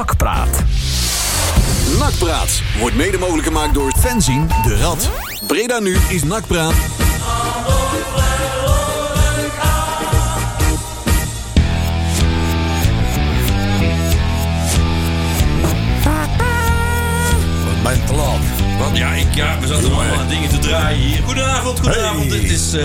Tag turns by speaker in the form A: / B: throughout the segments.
A: Nakpraat.
B: Nakpraat wordt mede mogelijk gemaakt door Fenzin de Rad. Breda nu is Nakpraat.
C: Wat ben je te laat?
D: Want ja, ik, ja, we zaten allemaal aan dingen te draaien hier. Goedenavond, goedenavond. Het is eh,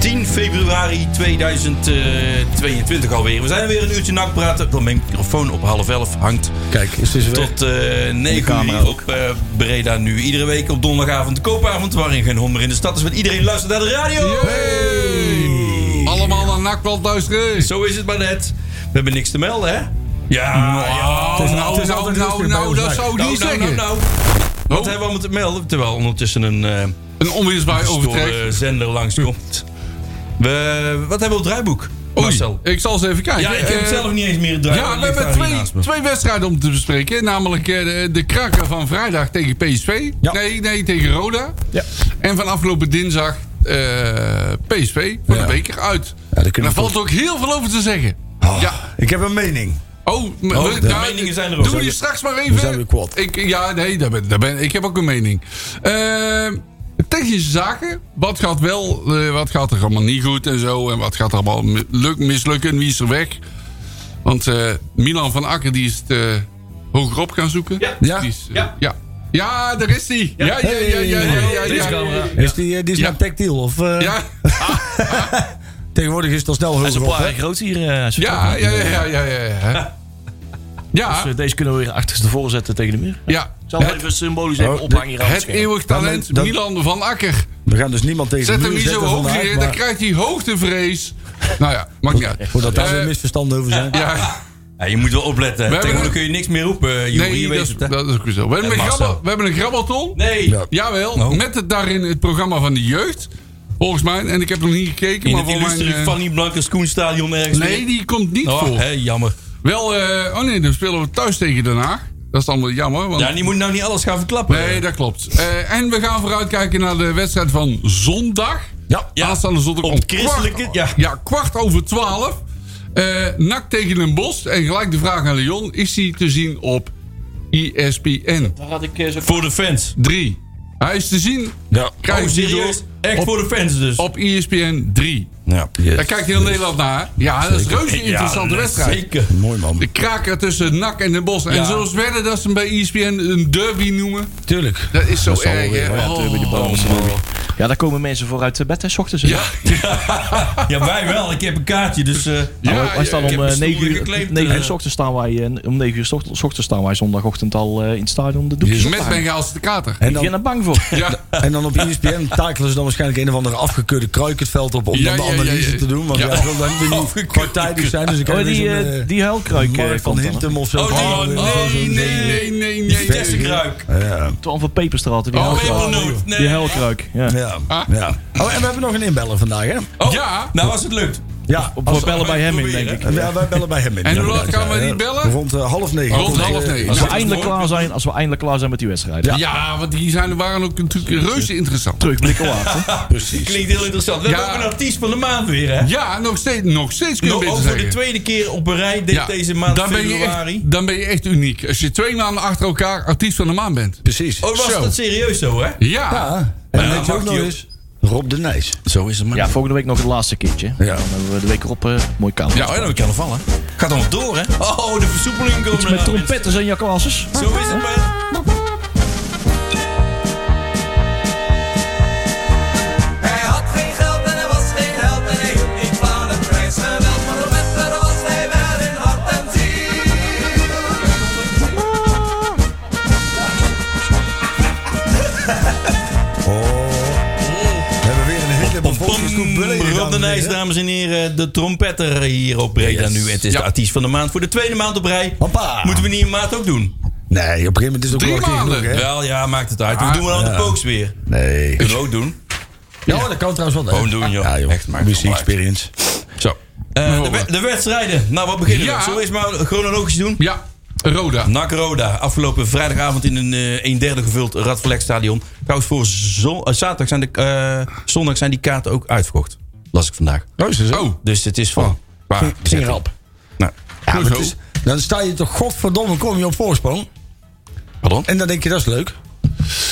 D: 10 februari 2022 alweer. We zijn weer een uurtje nakpraten. Want mijn microfoon op half elf hangt
C: Kijk, is dus weer...
D: tot eh 9
C: camera
D: uur op eh, Breda nu. Iedere week op donderdagavond de koopavond, waarin geen honger in de stad is. Want iedereen luistert naar de radio.
E: Allemaal naar Nakblad luisteren.
D: Zo is het maar net. We hebben niks te melden, hè? Ja, ja.
C: Het is een-
E: Nou,
C: het is
E: nou,
C: altijd
E: nou,
C: rustig bij
E: nou,
C: ons
E: dat
C: dak.
E: zou ik
D: Nou,
E: niet
D: nou, nou,
E: zeggen. Oh,
D: nou. Wat hebben we allemaal te melden? Terwijl ondertussen een... eh,
E: Een onweersbaar
D: Overtrek.
E: overtrek.
D: eh, zender langskomt. We, wat hebben we op het draaiboek?
E: Oei,
D: Marcel.
E: ik zal eens even kijken.
D: Ja, ik heb het
E: Eh,
D: zelf niet eens meer het draaiboek.
E: Ja, we
D: ligt
E: hebben
D: daar
E: twee,
D: hiernaast me.
E: twee wedstrijden om te bespreken. Namelijk eh, de, de kraker van vrijdag tegen PSV.
C: Ja.
E: Nee, nee, tegen Roda.
C: Ja.
E: En van afgelopen dinsdag eh, PSV voor
C: Ja.
E: de beker uit.
C: daar kunnen we
E: en daar valt
C: toch-
E: ook
C: Ah,
E: heel veel over te zeggen. Ja.
C: Ik heb een mening.
E: Oh, m-
C: Oh,
E: we-
C: de
E: ja,
D: meningen zijn er ook.
E: Doen we
D: Zijn
E: die
D: we-
E: straks maar even.
C: zijn weer kwaad.
E: Ik, ja, nee, daar ben, daar ben, ik heb ook een mening. Ehm, technische zaken. Wat gaat wel, eh, wat gaat er allemaal niet goed en zo. En wat gaat er allemaal mi- luk, mislukken. Wie is er weg? Want eh, Milan van Akker die is het eh, hogerop gaan zoeken. Ja.
C: Ja.
E: Die is, eh,
D: Ja.
E: ja. Ja, daar is die. Ja, ja, ja, ja, ja, ja, ja, ja.
C: Is die, eh, die is
E: Ja.
C: nou tactiel? Of, eh,
E: Ja,
C: Tegenwoordig is het al snel
F: Dat is
C: hoger
F: een
C: op,
F: paar
C: hè?
F: jaar groot hier. eh, als je
E: ja,
F: het
E: ja,
F: ook
E: ja,
F: niet-
E: ja, ja, ja, ja.
F: Dus,
E: Ja,
F: eh, deze kunnen we weer achterstevoren zetten tegen de muur.
E: ja.
F: Ik zal hem even symbolisch even
C: Oh,
F: ophangen hier aan
E: Het
F: scherm.
E: eeuwig talent
C: Dan- dan-
E: Milan van Akker.
C: We gaan dus niemand tegen
E: Zet
C: de
E: hem
C: muur
E: niet zo
C: zetten
E: hoog
C: vandaag,
E: hier,
C: maar
E: dan krijgt hij hoogtevrees. Nou ja, maakt niet uit.
C: Voordat daar weer
E: Eh,
C: misverstanden over zijn.
E: Ja,
D: Ja, je moet wel opletten.
E: hebben
D: Tegenwoordig
E: een-
D: kun je niks meer roepen. Joeri,
E: nee,
D: je weet
E: dat is,
D: het, hè?
E: dat is ook weer zo. We hebben, een,
D: Marcel.
E: grabbel, we hebben een grabbelton.
D: Nee.
C: Ja.
E: Jawel,
D: Oh.
E: met het daarin het programma van de jeugd. Volgens mij, en ik heb nog niet gekeken,
D: In
E: maar
D: het
E: volgens mij...
D: illustre
E: eh,
D: Fanny Blankers Koenstadion ergens.
E: nee, die komt niet
D: Oh,
E: voor.
D: hè, jammer.
E: Wel, eh, oh nee, dan spelen we thuis tegen Den Haag. Dat is dan wel jammer, want...
D: Ja, die moet nou niet alles gaan verklappen.
E: Oh. Nee, dat klopt. Eh, en we gaan vooruitkijken naar de wedstrijd van zondag.
C: Ja.
D: Ja.
E: Aanstaande zondag
D: Op
E: om
D: christelijke-
E: kwart,
D: ja.
E: kwart over twaalf. Eh Nak tegen een bos. En gelijk de vraag aan Leon. Is hij te zien op E ESPN
F: Daar had ik eh, zo...
D: Voor de fans.
E: 3? Hij is te zien.
C: Ja.
E: Krijg
D: Oh,
E: je die
D: serieus?
E: door
D: Echt
E: op,
D: voor de fans dus.
E: op E ESPN 3.
C: Ja.
E: Daar kijkt heel Nederland naar. Ja, dat is reuze een
D: Ja,
E: interessante
D: nee,
E: wedstrijd.
D: Zeker.
C: Mooi, man.
E: De kraker tussen Nak en Den Bos. En
D: Ja.
E: zoals werden dat ze hem bij E ESPN een derby noemen.
C: Tuurlijk.
E: Dat is zo
C: zal wel
E: erg,
C: weer,
E: hè?
C: ja, derby, die bal.
E: Oh.
F: Ja, daar komen mensen voor uit eh, bed, hè, s ochtends. hè.
E: Ja,
D: Ja, wij wel. Ik heb een kaartje, dus... eh,
E: ja,
F: wij, wij staan
D: ik
F: om
D: heb
F: eh,
D: mijn
F: 9
D: stoel
F: uur,
D: geclaimd,
F: 9 uur
D: eh.
F: s ochtends staan wij, eh, om 9 uur s ochtends, s ochtends staan wij zondagochtend al eh, in het stadion de doekjes op te
E: met
F: hangen.
E: Bengaalse de kater.
C: En
F: Ik ben er
C: dan,
F: bang voor.
E: Ja.
C: en dan op E ESPN takelen ze dan waarschijnlijk een of andere afgekeurde kruik het veld op om
E: Ja,
C: dan
E: ja,
C: de
E: ja,
C: analyse
E: ja.
C: te doen. Want
E: Ja.
C: ja, ik wil dan weer niet partijdig zijn. Dus ik heb
F: Oh,
C: weer
F: die,
C: zo'n,
F: eh,
C: eh,
F: die huilkruik eh,
C: Mark
F: komt
C: van
F: dan, hè.
C: Hintem of zo.
D: Oh, die-
C: Ja,
D: oh,
C: zo'n-
E: Nee,
C: zo'n-
E: nee, nee, nee, nee.
D: Vitesse Kruik.
C: Ja.
F: Twan van Peperstraat. Die
E: Oh,
F: huilkruik.
D: Pepernoot. Nee.
F: Die huilkruik, ja.
C: Ja,
E: Ah.
C: ja. Oh, en we hebben nog een inbeller vandaag, hè?
D: Oh,
E: Ja.
D: nou als het lukt.
C: Ja,
F: Op
C: als-
F: voor bellen bij hem in, denk ik.
C: eh, ja, wij bellen bij hem in.
E: En hoe laat
C: Ja,
E: gaan we
C: ja,
E: die bellen?
C: Rond eh, half negen.
D: Oh,
E: Rond half negen.
F: Als we
E: Ja.
F: eindelijk klaar zijn, als we eindelijk klaar zijn met die wedstrijd.
E: Ja. want die zijn, waren ook natuurlijk reuze interessant.
F: Terugblikken waard, hè.
C: Precies.
D: Klinkt heel interessant. We
E: Ja.
D: hebben ook een artiest van de maand weer, hè?
E: Ja, nog steeds, nog steeds kun je
D: Nog
E: beter
D: over
E: zeggen.
D: de tweede keer op een rij deed
E: Ja,
D: deze maand
E: dan ben, je
D: februari.
E: echt, dan ben je echt uniek. Als je twee maanden achter elkaar artiest van de maand bent.
C: Precies.
D: Oh, was
E: Zo.
D: dat serieus zo, hè?
E: Ja,
C: Ja, en weet je
D: mag
C: ook nog
D: die ook.
C: eens? Rob de Nijs.
D: Zo is het maar.
F: Ja, volgende week nog het laatste keertje. Ja. Dan hebben we de week erop eh, mooi kamer.
E: Ja,
D: Oh, ja, dan kan er vallen. Gaat dan nog door, hè? Oh, de versoepeling komt
F: Iets met
D: eraan, mensen.
F: trompetters en jacassers.
D: Zo is het maar.
G: Hij had geen geld en hij was geen held en hij hield niet van het prijsgeweld. Maar door Wetter was hij wel in hart en ziel.
C: Oh. We hebben weer een hele bevolkingsgroep bullen hier
D: Rob de
C: gaan
D: Nijs,
C: zingen.
D: dames en heren. De trompetter hier op Breda
C: Yes.
D: nu. Het is
E: Ja.
D: de artiest van de maand voor de tweede maand op rij.
C: Hoppa.
D: Moeten we niet in maart ook doen?
C: Nee, op een gegeven moment is het ook
E: Drie
C: wel een keer
E: maanden.
C: genoeg, hè?
D: Wel, ja, maakt het uit. We
E: Ah,
D: doen wel aan de
C: ja.
D: pooks weer.
C: Nee.
D: Kunnen we ook doen.
C: Ja, hoor, dat kan trouwens wel. hè?
D: Gewoon doen, joh.
C: Ja, joh.
D: Echt, maakt
C: Muziek
D: wel uit.
C: experience.
D: Zo. Eh, de, we- de wedstrijden. Nou, wat beginnen
E: Ja.
D: we? Zullen we eerst maar chronologisch doen?
E: ja. Roda.
D: NAC Roda, afgelopen vrijdagavond in een eh, een derde gevuld Radverlegstadion. Trouwens, voor zon- eh, zaterdag zijn de, eh, zondag zijn die kaarten ook uitverkocht. Las ik vandaag.
C: Oh, is het zo?
E: Oh,
D: Dus het is van. Qua
C: Ging rap.
D: Nou,
C: Ja, maar
E: Hoezo?
C: het is, het Dan sta je toch, godverdomme, kom je op voorsprong.
D: Pardon?
C: En dan denk je, dat is leuk.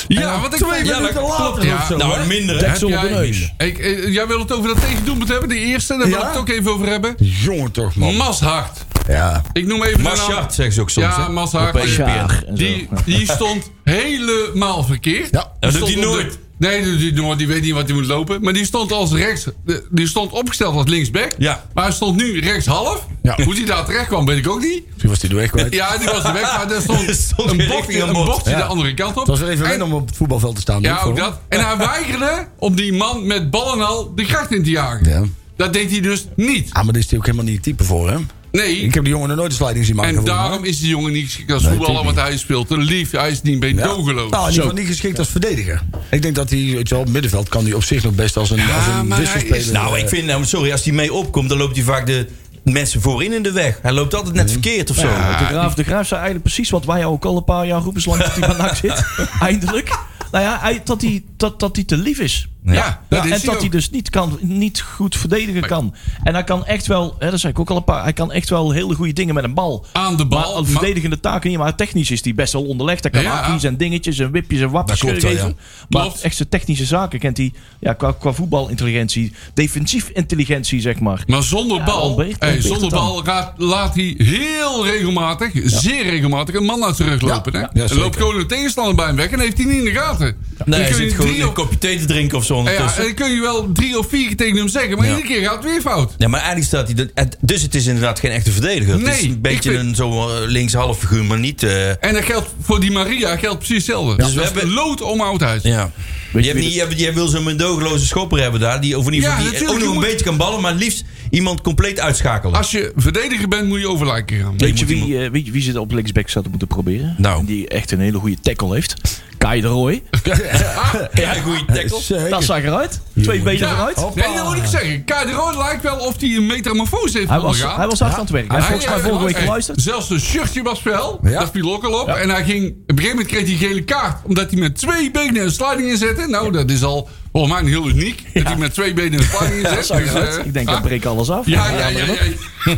E: Ja, wat ik
C: twee
E: ja,
C: minuten
E: dat
C: later
E: klopt.
C: of zo.
D: Nou, minder. hè?
F: Deksel op de neus.
E: Ik, eh, jij wil het over dat tegendoelpunt hebben, die eerste. Daar wil
C: Ja?
E: ik het ook even over hebben.
C: Jongen toch, man.
E: Mashart.
C: Ja.
E: Ik noem even de naam.
D: Maschart, zeggen ze ook soms.
E: Ja,
D: hè?
E: Mashart.
D: Op ESPN.
F: Ja, en zo.
E: Die, die stond helemaal verkeerd.
C: Ja,
D: dat
E: stond
D: doet hij
E: op de-
D: nooit.
E: nee, dat doet hij nooit. Die weet niet wat hij moet lopen. Maar die stond als rechts. de- Die stond opgesteld als linksback.
D: Ja.
E: Maar hij stond nu rechtshalf.
C: Ja.
E: Hoe die daar terecht kwam, weet ik ook niet.
C: Toen was die door echt kwijt.
E: Ja, die was er weg. Maar daar stond,
D: Er stond
E: een
D: geen
E: bochtje,
D: richting aan
E: een
D: bod.
E: bochtje
C: Ja.
E: de andere kant op.
C: Het was er even
E: En-
C: wennen om op het voetbalveld te staan.
E: ja,
C: denk ik,
E: ook
C: hoor.
E: dat. En hij weigerde om die man met ballen al de kracht in te jagen.
C: Ja.
E: Dat deed hij dus niet.
C: Ah, maar dit is hij ook helemaal niet het type voor, hè?
E: Nee.
C: Ik heb die jongen nog nooit een sliding zien maken.
E: En
C: volgens mij.
E: daarom is die jongen niet geschikt als
C: Nee,
E: voetballer, want
C: natuurlijk
E: hij speelt te lief. Hij is niet
C: Ja.
E: meedogeloos.
C: Nou, in ieder geval niet geschikt als verdediger. Ik denk dat hij, weet je wel, op middenveld kan hij op zich nog best als een, als een
E: maar hij
C: wisselspeler.
E: is-
D: Nou, ik vind, nou, sorry, als hij mee opkomt, dan loopt hij vaak de mensen voorin in de weg. Hij loopt altijd net verkeerd of zo.
E: Ah,
F: de, graaf, de Graaf zei eigenlijk precies wat wij ook al een paar jaar roepen, zolang dat hij bij NAC zit. Eindelijk. Nou ja, hij- dat hij, dat, dat hij te lief is.
E: ja, dat
F: Ja,
E: is
F: en dat
E: ook.
F: hij dus niet, kan, niet goed verdedigen kan. En hij kan echt wel, hè, dat zei ik ook al een paar, hij kan echt wel hele goede dingen met een bal.
E: Aan de bal,
F: Maar aan
E: maar-
F: verdedigende taken niet, maar technisch is hij best wel onderlegd. Hij kan
E: Ja.
F: haakjes en dingetjes en wipjes en wapjes
C: Dat klopt
F: geven.
C: wel, ja.
F: Maar
E: Klopt.
F: echt zijn technische zaken kent hij ja, qua, qua voetbalintelligentie, defensief intelligentie zeg maar.
E: Maar zonder bal,
F: ontbeert-
E: hey,
F: ontbeert
E: zonder
F: het dan.
E: bal raad- laat hij heel regelmatig, zeer regelmatig, een man uit zijn rug lopen.
C: ja,
E: hè?
C: ja,
E: Er loopt
C: zeker.
E: gewoon een tegenstander bij hem weg en heeft hij niet in de gaten.
D: Nee,
E: Dan
D: hij
E: kun je
D: zit gewoon
E: drie
D: een
E: of-
D: kopje thee te drinken of zo
E: ja,
D: ondertussen.
E: en dan kun je wel drie of vier keer tegen hem zeggen, maar
D: Ja.
E: iedere keer gaat het weer fout.
D: Ja, maar eigenlijk staat hij... dat- het- Dus het is inderdaad geen echte verdediger. Het is
E: Nee,
D: een beetje
E: ik vind-
D: een zo eh, links-half figuur, maar niet... eh,
E: En dat geldt voor die Maria geldt precies hetzelfde. dus we
D: we
E: hebben
D: hebben-
E: lood om oudheid.
D: ja. Je,
F: wie
D: hebt niet, je, hebt- je wil zo'n mendogeloze schopper hebben daar. Die, of in ieder
E: Ja,
D: geval die
E: natuurlijk,
D: ook nog
E: je
D: een
E: moet-
D: beetje kan ballen, maar het liefst iemand compleet uitschakelen.
E: Als je verdediger bent, moet je overlijken gaan.
F: Weet je
D: moet
F: wie, eh, weet je wie ze op linksback zouden moeten proberen?
D: Nou.
F: Die echt een hele goede tackle heeft. Kai de Roy.
D: ja, een goede
C: eh,
D: tackle.
C: Zeker.
F: Dat zag eruit. Twee benen
E: Ja,
F: eruit.
E: nee, dat moet ik zeggen. Kai de Roy lijkt wel of hij een metamorfose heeft
F: Ah. Hij was,
E: ondergaan.
F: hij was hard aan het werk. Hij heeft
E: Hij-
F: volgens mij
E: hij-
F: vorige week
E: hij-
F: geluisterd.
E: Zelfs zijn shirtje was fel.
C: Ja.
E: Dat viel ook al op. En hij ging, op een gegeven moment kreeg hij een gele kaart. Omdat hij met twee benen een sliding inzette. Nou, dat is al volgens mij heel uniek. Dat hij met twee benen een sliding
F: Ja,
E: inzet.
F: zag
E: Dus,
F: eruit.
E: eh,
F: Ik denk, dat breekt alles af.
E: ja, ja, ja, ja. ja.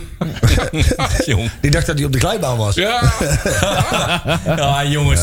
D: Jong.
C: Die dacht dat hij op de glijbaan was.
E: Ja.
D: Ja, jongens.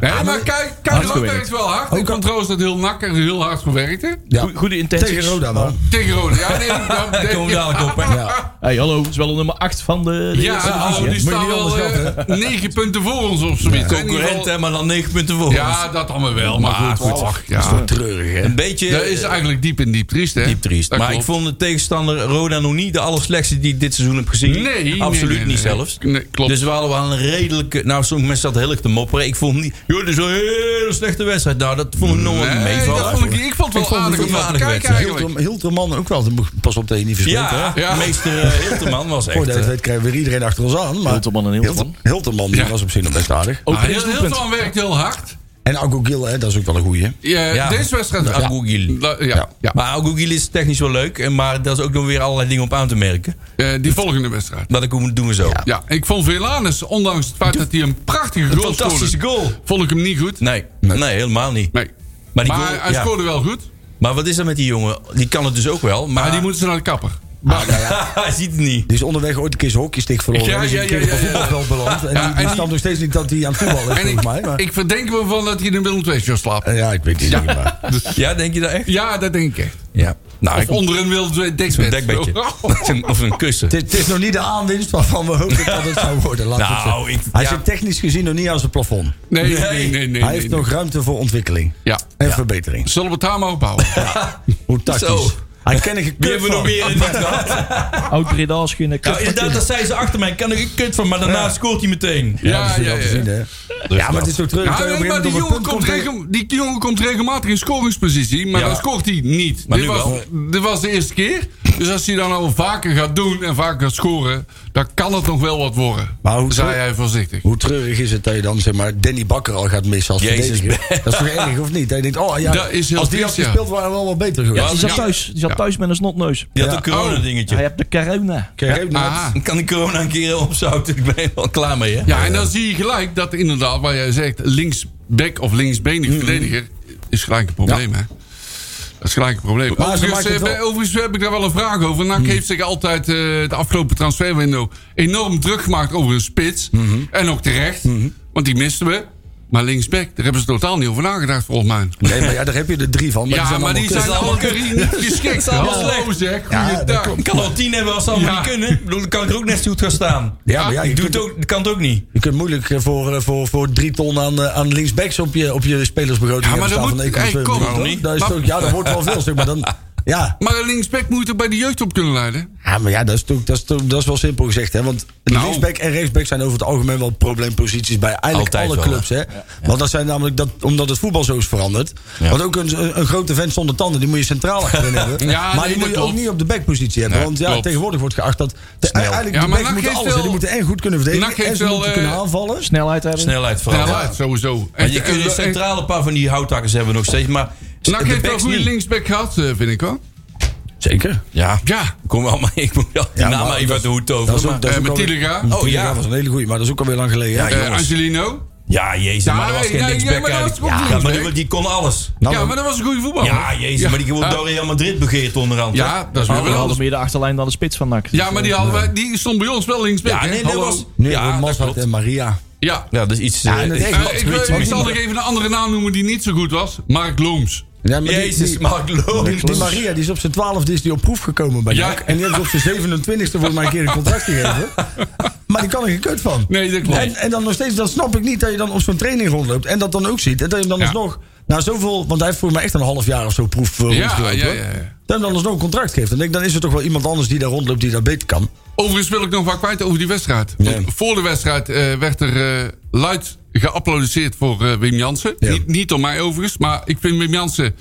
E: Nee, maar kijk, kijk dat
F: gewerkt.
E: werkt wel hard. Ik kan trouwens dat heel nakker heel hard gewerkt. Hè?
C: Ja.
F: Goe- Goede intenties. Ah.
C: Tegen Roda, man.
E: Tegen Roda. Ja, nee, dat
D: Komen we dadelijk op, hè.
C: Ja.
F: Hey, hallo, het is wel nummer 8 van de, de
E: Ja,
F: eerste
E: oh,
F: divisie. hè?
E: die staan wel eh, negen punten voor ons of zoiets. hè. In ieder geval-
D: Concurrent, hè, maar dan 9 punten voor
E: Ja, dat allemaal wel. Maar, goed, ach, ja.
C: Treurig, hè?
D: Een beetje... eh,
E: Dat is eigenlijk diep in diep triest, hè?
D: Diep triest.
E: Dat
D: maar
E: klopt.
D: ik vond de tegenstander Roda nog niet de allerslechtste die ik dit seizoen heb gezien.
E: Nee, nee,
D: absoluut
E: nee, nee,
D: niet
E: nee.
D: zelfs.
E: Nee, klopt.
D: Dus we hadden wel een redelijke. Nou, sommige mensen zaten heel erg te mopperen. Ik vond niet. Joh, dit is een hele slechte wedstrijd. Nou, dat vond ik nog wel
E: Nee,
D: meevallen.
E: dat vond ik, ik vond het wel
D: Ik vond
E: aardig
D: het
E: om naar
D: een aardige
E: te kijken
D: wedstrijd.
E: eigenlijk.
C: Hilterman Hilterman ook wel. Pas op dat je niet verspringt, hè?
D: Ja,
E: Ja.
D: meester eh, Hilterman was echt.
C: Voor dat je het
D: eh,
C: weet krijgen we weer iedereen achter ons aan. Maar
F: Hilterman en Hilterman.
C: Hilter- Hilterman die
E: Ja. Oh.
C: was op zich nog best aardig.
E: Maar
F: Open
E: heel, heel
F: doelpunt.
E: veel werkt heel hard.
C: En Agogil, hè, dat is ook wel een goeie. hè?
E: Ja,
D: Ja.
E: Eh, Deze wedstrijd...
D: Ja. Agougil.
E: La- Ja. ja.
D: Maar Agougil is technisch wel leuk. en- Maar dat is ook nog weer allerlei dingen op aan te merken.
E: Eh, die volgende wedstrijd.
D: Dat ik hoe doen we zo.
E: Ja, ik vond Velanus, ondanks het feit dat hij een prachtige goal scoorde...
D: fantastische goal.
E: Vond ik hem niet goed.
D: Nee, nee. helemaal niet.
E: Nee. Maar,
D: Maar die goal-
E: hij
D: ja.
E: scoorde wel goed.
D: Maar wat is er met die jongen? Die kan het dus ook wel. Maar,
E: Maar die moeten ze naar de kapper.
D: Hij ziet het niet.
C: Die is onderweg ooit een keer zijn hokjestik verloren.
E: Ja,
C: en is
E: ja,
C: een keer
E: ja,
C: op een
E: ja, ja.
C: voetbalveld beland.
E: Ja,
C: En die,
E: en
C: die
E: die-
C: snapt nog steeds niet dat hij aan het voetballen is,
E: En
C: volgens
E: ik,
C: mij. Maar,
E: ik verdenk me van dat hij in de Willem II zou slapen.
C: Eh, ja, ik weet het niet. maar-
D: Dus, Ja, denk je dat echt?
E: Ja, dat denk ik echt.
D: Ja. Nou,
E: Of
D: ik-
E: onder een Willem II
D: Een
E: dekbed. Oh,
D: dekbedje. Of een- of een kussen.
C: Het is- Het is nog niet de aanwinst waarvan we hoopten dat het zou worden. laat ik het
D: Nou,
C: zeggen.
D: ik-
C: hij
D: ja.
C: zit technisch gezien nog niet aan zijn plafond.
E: Nee, nee, nee. nee, nee,
C: hij heeft nog ruimte voor ontwikkeling
E: Ja.
C: en verbetering.
E: Zullen we het daar maar opbouwen?
C: Hoe tactisch.
D: Zo.
C: Hij ken ik
D: Die hebben we nog meer in het gehad.
F: Oud Breda's geen
D: Nou, inderdaad, dat zei ze achter mij. Ik kan er een kut van, maar daarna scoort hij meteen.
C: Ja, ja, ja. dus Zien, hè? ja, maar het is toch terug.
E: Ja, nee, maar die jongen, komt regel- die jongen komt regelmatig in scoringspositie, maar
D: Ja.
E: dan scoort hij niet.
D: Maar
E: Dit
D: nu
E: was,
D: wel.
E: dit was de eerste keer. Dus als hij dan al vaker gaat doen en vaker gaat scoren, dan kan het nog wel wat worden.
C: Maar hoe-
E: zei hij voorzichtig.
C: Hoe treurig is het dat je dan zeg maar Danny Bakker al gaat missen als
D: Jezus.
C: verdediger? Dat is toch erg of niet? Hij denkt, oh ja,
E: Dat is heel
C: als die had
E: triest, ja.
C: gespeeld waren we wel wat beter
D: Ja,
C: geweest.
F: Die
D: als-
F: zat
D: Ja.
F: thuis, die zat
E: Ja.
F: thuis met een snotneus.
D: Die had een
E: Ja.
F: Hij
C: Oh.
D: corona-dingetje.
F: heeft de corona.
C: Kijk, even naar-
E: Aha.
D: Ik kan die corona een keer opzouten. Ik ben er wel klaar mee, hè?
E: Ja, en
C: eh,
E: dan zie je gelijk dat inderdaad,
C: Mhm.
E: waar jij zegt, linksback of linksbenig verdediger, is gelijk een probleem, hè? Dat is gelijk een probleem.
C: Maar ze
E: Overigens,
C: maakt het
E: eh,
C: wel- Mhm.
E: bij- overigens heb ik daar wel een vraag over. NAC heeft zich altijd eh, de afgelopen transferwindow enorm druk gemaakt over een spits.
C: Mhm.
E: En ook terecht, want die misten we. Maar linksback, daar hebben ze totaal niet over nagedacht volgens mij.
C: Nee, maar ja, daar heb je er drie van. Maar
E: ja, maar die zijn alle drie niet geschikt.
D: allemaal
E: Hallo
D: slecht.
E: zeg,
C: Ja, dat
E: goeiedag.
C: klopt.
D: Ik kan al tien hebben als ze allemaal
E: Ja.
D: niet kunnen. Ik bedoel, dan kan ik er ook net zo goed gaan staan.
C: Ja, maar ja, je
D: Ik doe
C: kunt,
D: het ook, dat kan het ook niet.
C: je kunt moeilijk eh, voor, eh, voor, voor drie ton aan, eh, aan linksbacks op je, op je spelersbegroting
E: Ja, maar
C: hebben
E: dat
C: staan
E: moet-
C: van 1,2
E: hey, kom,
C: miljoen,
E: waarom
C: toch?
E: niet?
C: Dat is
E: Maar-
C: toch- ja, dat wordt wel veel, zeg maar. Dan, ja.
E: Maar een linksback moet je toch bij de jeugd op kunnen leiden?
C: ja, maar ja, dat is, toch, dat, is toch- dat is wel simpel gezegd. Hè? Want
E: Nou.
C: linksback en rechtsback zijn over het algemeen wel probleemposities bij eigenlijk
D: Altijd
C: alle
D: wel,
C: clubs. Hè? Want dat zijn namelijk dat, omdat het voetbal zo is veranderd. Want ook een, een grote vent zonder tanden, die moet je centraal achterin hebben.
E: Ja,
C: maar
E: nee,
C: die
E: dat
C: moet je ook
E: klopt.
C: niet op de backpositie hebben.
E: Nee,
C: want ja,
E: klopt.
C: tegenwoordig wordt geacht dat de, eigenlijk
E: Ja,
C: de
E: maar
C: backs
E: NAC
C: moeten
E: heeft
C: alles. hè.
E: wel-
C: Die moeten en goed kunnen verdedigen
E: NAC heeft
C: en ze
E: wel,
C: moeten
E: eh,
C: kunnen aanvallen.
F: Snelheid hebben.
D: Snelheid vooral.
E: Ja, laat, sowieso.
D: Maar je
C: Eh,
D: kunt een
C: dus
D: centrale paar van die houthakkers hebben nog steeds. Maar
E: NAC
D: de
E: heeft wel een
D: backs
E: goede
D: niet.
E: linksback gehad, eh, vind ik hoor. Eh,
C: Zeker.
D: Ja,
E: Ja.
D: kom wel maar. Ik moet wel die
C: Ja,
D: naam
C: maar
D: maar even
C: dat-
D: uit de hoed
C: Dat is
D: over.
C: ook,
D: maar-
C: dat is
E: Eh,
C: ook
E: met
C: alweer-
E: Tiliga.
C: Oh
D: Tiliga
C: ja, was een hele goeie, maar dat is ook alweer lang geleden. hè.
E: Eh,
D: Nou,
E: Angelino.
D: Ja, jezus, maar dat was
E: nee,
D: geen
E: nee,
D: linksback
E: ja, maar dat
D: eigenlijk.
E: was ook
D: Ja,
E: linksback.
D: maar die, die kon alles.
C: Nou,
E: ja, maar dat was een goede voetballer.
D: Ja, jezus, maar die wordt
E: Ja. Ah.
D: door Real Madrid begeerd onderhand. hè? Oh,
E: Ja, dat
F: Maar
E: is weer
F: we
E: wel
F: hadden
E: anders.
F: meer de achterlijn dan de spits van NAC.
E: Ja, maar die, hadden wij- die stond bij ons wel linksback.
D: Ja,
E: hè?
D: nee, dat
E: Hallo.
D: was...
C: nee,
D: ja,
C: ja,
D: dat klopt.
C: en Maria.
E: Ja.
D: Ja, dat is iets...
C: Ja,
D: eh,
C: dat
D: iets-
C: echt.
E: Eh,
C: Wat
E: ik,
C: zoiets
E: wil- ik
C: wat
E: zal
C: iemand-
E: nog even een andere naam noemen die niet zo goed was. Mark Looms.
C: Ja, maar die-
D: Jezus,
C: die-
D: Mark
C: Die, die
D: Loos.
C: Maria die is op zijn twaalfde is die op proef gekomen bij
E: Ja.
C: Jack. En die hebben ze op zijn 27e voor mij een keer een contract gegeven. Maar die kan er geen kut van.
E: Nee, dat klopt.
C: En, en dan nog steeds, dat snap ik niet, dat je dan op zo'n training rondloopt. En dat dan ook ziet. En dat je hem dan
E: Ja.
C: alsnog, na zoveel, want hij heeft voor mij echt een half jaar of zo proef eh,
E: Ja,
C: rondgelopen.
E: ja, ja, ja.
C: Dat hij hem dan alsnog een contract geeft. Dan denk ik, dan is er toch wel iemand anders die daar rondloopt die dat beter kan.
E: Overigens wil ik nog wat kwijt over die wedstrijd. Want
C: Ja.
E: Voor de wedstrijd eh, werd er eh, luid geapplaudisseerd voor eh, Wim Jansen.
C: Ja.
E: Niet, niet door mij overigens, maar ik vind Wim Jansen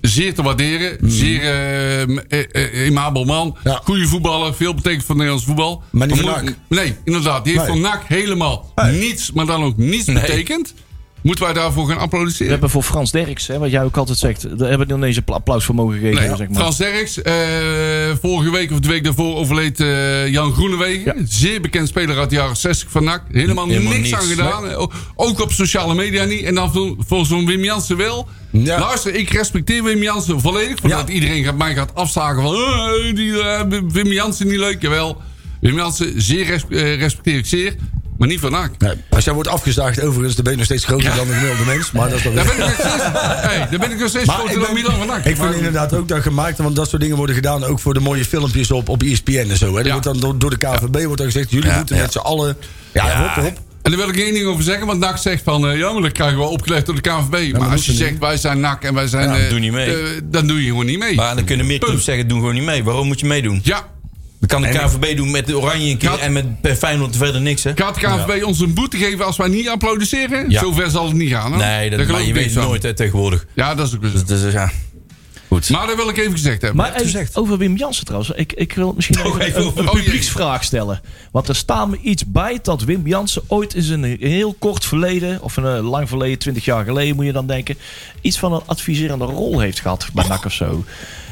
E: zeer te waarderen. Zeer eh, m- eh, eh, amabel man.
C: Mm. Ja.
E: Goede voetballer, veel betekent voor Nederlands voetbal.
C: Maar niet voor
E: moet-
C: NAC.
E: Nee, inderdaad. Die heeft
C: Nee.
E: voor NAC helemaal
C: Nee.
E: niets, maar dan ook niets betekend. Moeten wij daarvoor gaan applaudisseren?
F: We hebben voor Frans Derks, hè, wat jij ook altijd zegt, daar hebben we ineens een pla- applaus voor mogen geven.
E: Nee,
F: zeg maar.
E: Frans Derks, eh, vorige week of de week daarvoor overleed eh, Jan Groenewegen. Zeer bekend speler uit de jaren 60 van NAC. Helemaal,
D: Helemaal
E: niks,
D: niks,
E: aan gedaan. Eh, O- Ook op sociale media niet. En dan voor- voor zo'n Wim Jansen wel.
C: Ja.
E: Luister, ik respecteer Wim Jansen volledig. Voordat
C: Ja.
E: iedereen gaat, mij gaat afzagen van... "Eh, die, eh, Wim Jansen niet leuk. Jawel, Wim Jansen zeer res- eh, respecteer ik zeer. Maar niet van NAC.
C: Nee, als jij wordt afgezaagd, overigens, dan ben je nog steeds groter dan een gemiddelde mens. Maar dat is dan weer-
E: Daar ben ik nog steeds, hey, daar ben ik nog steeds
C: Maar
E: groter dan Milan van NAC.
C: ik
E: Maar
C: vind
E: goed.
C: inderdaad ook dat gemaakt, want dat soort dingen worden gedaan ook voor de mooie filmpjes op, E op ESPN en zo. Hè. Dat
E: Ja.
C: wordt dan door, door de KVB wordt dan gezegd, jullie
D: Ja,
C: moeten
D: ja.
C: met z'n allen. Ja, hop, hop.
E: En daar wil ik één ding over zeggen, want NAC zegt van... eh ja, maar dat krijgen we opgelegd door de KNVB. maar als
C: dat
E: je
C: hoeft niet.
E: zegt, wij zijn NAC en wij zijn...
D: Ja,
E: eh,
D: doe niet mee.
E: eh, dan doe je gewoon niet mee.
D: Maar dan kunnen meer clubs zeggen, doen gewoon niet mee. Waarom moet je meedoen?
E: ja,
D: Dan kan de KVB doen met de Oranje een keer
E: Gaat-
D: en met per Feyenoord verder niks, hè?
E: gaat de KNVB ons een boete geven als wij niet applaudisseren?
D: Ja.
E: Zover zal het niet gaan. Hoor.
D: Nee, dat,
E: Daar
D: maar
E: geloof
D: je
E: ik
D: weet
E: niks
D: het
E: van.
D: nooit hè, tegenwoordig.
E: Ja, dat is ook weer zo.
D: Dus, dus, ja. Goed.
E: Maar dat wil ik even gezegd hebben.
F: Maar even over Wim Jansen trouwens. Ik, ik wil misschien
D: Nog
F: even
D: even
F: een,
D: over-
F: een
E: Oh, jee.
F: publieksvraag stellen. Want er staat me iets bij dat Wim Jansen ooit in zijn heel kort verleden... of een eh, lang verleden, twintig jaar geleden moet je dan denken... iets van een adviserende rol heeft gehad bij NAC of zo.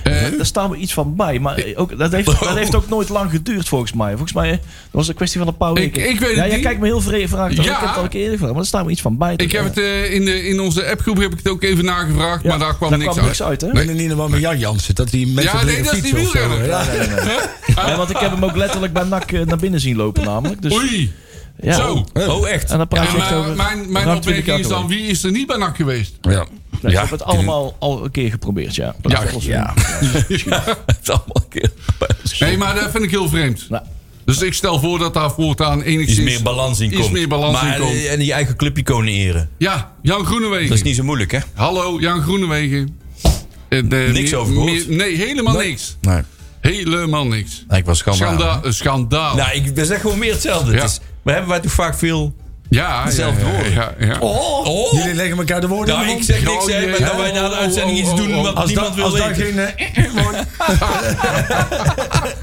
E: Eh?
F: Eh, Daar staat me iets van bij. Maar eh, ook, dat, heeft, dat heeft ook nooit lang geduurd volgens mij. Volgens mij eh, dat was een kwestie van een paar weken.
E: Oh. ik weet het
F: ja, jij
E: niet.
F: kijkt me heel vreemd vraag.
E: Ja.
F: Ik heb het al een keer eerder gevraagd. Maar er staat me iets van bij.
E: ik heb het eh, in, de, in onze appgroep heb ik het ook even nagevraagd,
F: Eh,
E: maar daar kwam niks uit.
F: hè?
C: Ik ben er niet normaal met Jan Jansen, dat die mensen
E: Ja,
C: op
E: nee,
C: leren
E: dat is die
C: fietsen of zo,
E: wielrenner.
C: ja.
F: Ja, want ik heb hem ook letterlijk bij NAC eh, naar binnen zien lopen namelijk. Dus,
E: Oei,
F: ja.
E: zo.
D: Oh, echt?
F: En dan praat
E: Ja,
F: je echt
E: maar
F: over...
E: mijn mijn
F: ruim
E: opmerking
F: 20
E: is
F: jaar
E: dan, wie is er niet bij NAC geweest?
C: Ja.
F: Nee,
D: Ja.
F: ik heb het allemaal al een keer geprobeerd, ja. Dat
E: Ja,
F: is volgens
D: ja.
F: mij.
D: Het is allemaal een keer.
E: Nee, maar dat vind ik heel vreemd.
F: Nou,
E: Dus ik stel voor dat daar voortaan enigszins...
D: Iets meer balans in
E: iets
D: komt.
E: meer balans
D: maar,
E: in komt.
D: eh, En die eigen clubiconen eren.
E: Ja, Jan Groenewegen.
D: Dat is niet zo moeilijk, hè?
E: Hallo, Jan Groenewegen. En, eh,
D: Niks over gehoord.
E: nee, helemaal niks.
D: Nee.
E: Helemaal niks.
D: Ik was schandaal.
E: Schanda eh, schandaal.
D: Nou, ik dat is echt gewoon meer hetzelfde.
E: Ja.
D: Het is, maar hebben wij toch vaak veel...
E: ja,
D: hetzelfde
E: ja,
D: woorden.
E: Ja, ja.
D: Oh!
C: Jullie leggen elkaar de woorden in
D: Nou,
C: de
D: ik
C: mond.
D: zeg niks, hè. Maar
E: Oh,
D: dat wij na de
E: oh,
D: uitzending
E: oh,
D: iets doen
E: oh,
D: wat
E: oh.
C: als
D: niemand
C: dat, als
D: wil
C: daar
D: weten.
C: geen eh, wordt.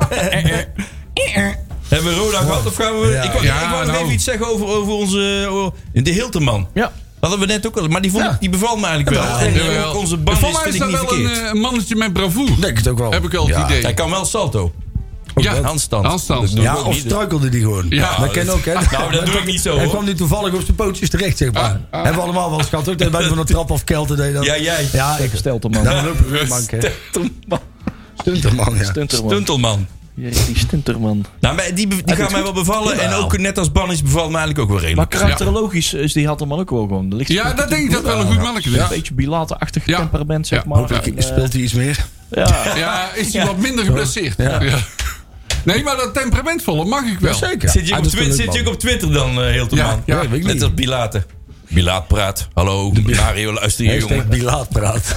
D: Eh, Hebben we Roda gehad of gaan we...
C: Ja.
D: Ik wou,
E: Ja,
D: ik wou nog
E: nou.
D: even iets zeggen over, over onze... over- de Hilterman.
F: ja.
D: Hadden we net ook al. Maar die, vond,
C: Ja.
D: ik- die beval me eigenlijk wel. En eh, ook onze band
E: Voor
D: is
E: mij is
D: vind ik
E: dat
D: niet
E: wel
D: verkeerd.
E: een eh, mannetje met bravoer.
C: Denk het ook wel.
E: Heb ik wel het
C: Ja.
E: idee.
D: Hij kan wel salto.
E: Ja,
D: handstand.
E: handstand.
D: Dat doe ik
C: Ja,
D: ook
C: of
D: niet.
C: struikelde die gewoon.
E: Ja,
C: dat ken
D: dat-
C: ook, hè?
D: Nou, dat doe ik niet zo,
C: Hij
D: hoor.
C: kwam nu toevallig op zijn pootjes terecht, zeg maar.
E: Ah, ah.
C: Hebben we allemaal wel eens gehad, ook. Dat wij van de trap of kelten deden. dat.
D: Ja, jij.
C: Ja, ik
F: Stelt hem man.
C: Daar lopen we mank, hè.
D: Stuntelman.
C: Nou, Stunterman, ja.
F: Stunterman.
D: Stuntelman.
F: Jeetje, die Stunterman.
D: Nou, maar die, die gaan mij wel bevallen. En ook net als Bannis bevalt mij eigenlijk ook wel
F: Maar
D: redelijk.
F: karakterologisch is die had hem ook wel gewoon. Er ligt
E: Ja, dat denk ik dat wel een goed mannetje
F: Een
E: is.
F: beetje bilaterachtig
E: Ja.
F: temperament, zeg
E: Ja,
F: maar.
E: hopelijk
F: En, eh,
C: Speelt hij iets meer?
F: ja.
E: Ja, is hij wat minder geblesseerd. Ja. Nee, maar dat temperamentvolle mag ik wel.
C: Zeker.
D: Zit je,
C: Hij
D: ook op,
C: doet het
D: Twi-
C: leuk,
D: zit je
C: man.
D: ook op Twitter dan, eh heel te
E: Ja,
D: man?
E: ja, weet ik
D: Net
E: niet.
D: als Bilater. Bilaat praat. Hallo, Mario, luister je,
C: Hashtag
D: jongen.
C: bilaat praat.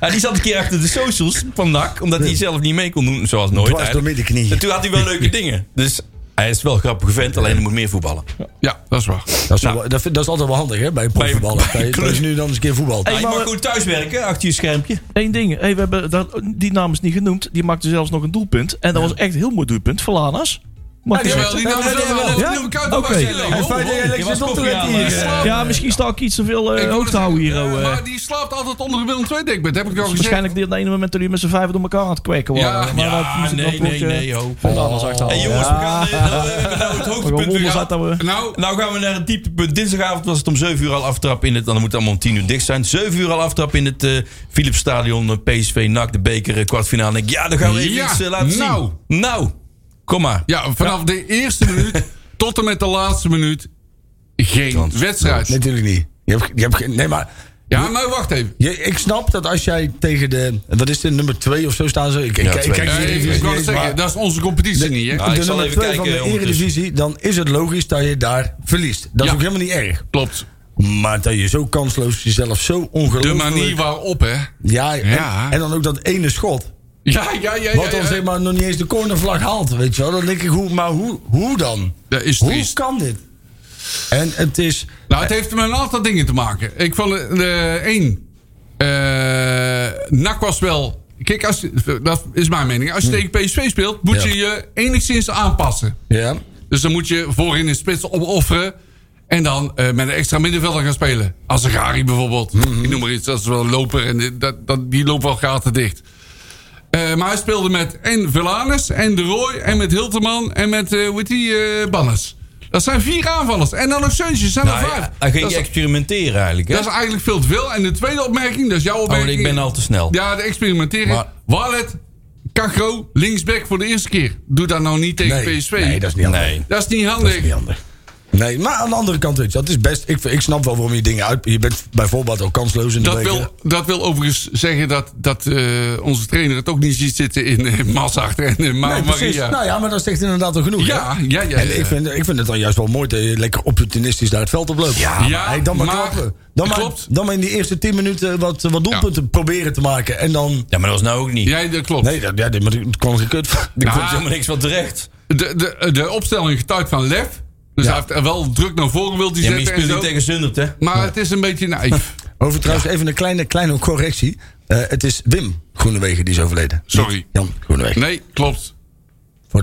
D: Ja, die zat een keer achter de socials van NAC, omdat hij zelf niet mee kon doen, zoals nooit.
C: Dwars door
D: eigenlijk.
C: middenknie.
D: En toen had hij wel leuke dingen. Dus hij is wel een grappige vent, alleen hij moet meer voetballen.
E: Ja, dat is waar.
C: Dat is, wel- dat, vind- dat is altijd wel handig, hè, bij een profvoetballer.
D: Nou, bij een
C: Dat je- Dat je nu dan eens een keer voetbal.
D: Hij
F: maar
D: mag
F: we-
D: goed thuiswerken achter je schermpje.
F: Eén ding. Hey, we hebben dat, die naam is niet genoemd. Die maakte zelfs nog een doelpunt. En dat was echt een heel mooi doelpunt. Falanas. Mag ik
E: Jawel,
F: zeggen?
E: die namen
D: Ja,
E: zullen
D: ja,
E: wel
F: ja.
E: even koud op
F: Oké.
E: Marcelo. Oh,
C: feit dat jij lekker
D: Je was
C: zit op te
D: koffie
C: letten
D: aan,
C: hier,
D: maar-
C: hè.
E: Ja.
F: ja, misschien sta ik iets te veel eh,
E: Ik
F: hoog
E: wou
F: te
E: het-
F: houden hier. oh, eh.
E: Maar nou, die slaapt altijd onder de Willem II dek. Dat heb ik al gezegd.
F: waarschijnlijk dit op de ene moment dat jullie met z'n vijven door elkaar aan het kweken waren.
E: Ja.
F: maar dat
D: Ja,
F: moest ik nog
D: nee,
F: een
D: nee,
F: blokje-
D: nee, ho.
F: Falanas
C: Oh,
F: achterhalen.
D: Hey, jongens, we gaan eh, nou, we
F: We
D: hebben nou het
F: gaan
D: hoogtepunt.
F: wonderen
D: weer
F: uit
D: gehad.
F: dat we...
E: Nou,
D: Nou gaan we naar het dieptepunt. Dinsdagavond was het om 7 uur al aftrap in het. Dan moet het allemaal om 10 uur dicht zijn. 7 uur al aftrap in het eh Philips Stadion. eh, PSV, NAC, de beker, eh, kwartfinale. En ik, ja, dan gaan we even
E: Ja,
D: iets eh, laten
E: nou.
D: zien. Nou, kom maar.
E: ja, vanaf de eerste minuut tot en met de laatste minuut geen
D: Kans.
E: wedstrijd.
C: Natuurlijk niet. Je hebt, je hebt, geen- nee, maar
E: Ja, maar wacht even.
C: Je- ik snap dat als jij tegen de. Wat is dit, nummer 2 of zo staan ze? Ik, ik,
D: Ja,
C: ik
D: twee.
C: kijk
E: Ja,
C: hier
E: Eh, ik
C: even.
E: wou
C: niet
E: het
C: eens, maar
E: zeggen, dat is onze competitie niet, hè?
D: Ah, ik
C: de
D: zal
C: nummer
D: even
C: 2 van
D: kijken,
C: de
D: eh, ondertussen.
C: Eredivisie, dan is het logisch dat je daar verliest. Dat
E: Ja.
C: is ook helemaal niet erg.
E: Klopt.
C: Maar dat je zo kansloos jezelf zo
E: De
C: ongelooflijk.
E: manier waarop, hè?
C: Ja, en,
E: Ja.
C: en dan ook dat ene schot.
E: Ja, ja, ja. ja,
C: Wat dan
E: ja.
C: zeg maar nog niet eens de cornervlag haalt. Weet je wel? Dan denk ik, hoe, maar hoe, hoe dan?
E: Dat is
C: hoe
E: triest.
C: kan dit? En het is.
E: Nou, het heeft met een aantal dingen te maken. Ik vond eh, de één. eh, NAC was wel. Kijk, als, je- dat is mijn mening. Als je tegen PSV speelt, moet
C: Hm. Ja.
E: je je enigszins aanpassen.
C: Ja.
E: Dus dan moet je voorin een spits opofferen. En dan eh, met een extra middenvelder gaan spelen. Azagari bijvoorbeeld.
D: Mhm.
E: Ik noem maar iets. Dat is wel een loper. En die- dat, dat, die loopt wel gaten dicht. Eh, maar hij speelde met en Velanus en De Roy en met Hilterman en met, eh hoe heet die, eh, Bannes. Dat zijn vier aanvallers. En dan nog Seuntjes. zijn er
D: Nou,
E: vijf.
D: hij- hij
E: Dat
D: ging
E: is-
D: experimenteren eigenlijk. Hè?
E: dat is eigenlijk veel te veel. En de tweede opmerking, dat is jouw opmerking.
D: Oh, ik ben al te snel.
E: Ja, de experimenteren.
D: Maar-
E: Wallet, Cagro, linksback voor de eerste keer. Doe dat nou niet tegen
C: Nee,
E: PSV.
C: nee, dat is niet handig.
D: Nee.
E: Dat is niet handig.
C: Niet handig. Nee, maar aan de andere kant, weet je, dat is best. Ik, ik snap wel waarom je dingen uit. Je bent bijvoorbeeld al kansloos in de
E: Dat
C: beker.
E: wil, dat wil overigens zeggen dat, dat eh, onze trainer het ook niet ziet zitten in eh, Massacht en eh, Ma-
C: Nee, precies.
E: Maria.
C: Nou ja, maar dat zegt inderdaad al genoeg.
E: Ja,
C: hè?
E: ja, ja, ja.
C: En ik vind, ik vind het dan juist wel mooi dat je lekker opportunistisch daar het veld op loopt. Ja,
E: ja,
C: dan maar,
E: maar-
C: klappen. Dan maar,
E: klopt.
C: dan maar in die eerste 10 minuten wat, wat doelpunten proberen te maken. En dan.
D: Ja, maar dat was nou ook niet.
E: Jij, dat klopt.
C: Nee, dat, ja, dit- maar het kwam geen kut. van.
D: Er
E: Nou,
D: komt helemaal niks van terecht.
E: De, de, de opstelling getuigt van Lef. Dus hij heeft er wel druk naar voren wilt hij
D: Ja, maar je
E: zetten. En
D: speelt
E: zo.
D: niet tegen Zundert, hè?
E: Maar het is een beetje naïef.
C: Over trouwens even een kleine, kleine correctie. Eh, het is Wim Groenewegen die is overleden.
E: Sorry.
C: Niet Jan Groenewegen.
E: Nee, klopt.
C: Voordat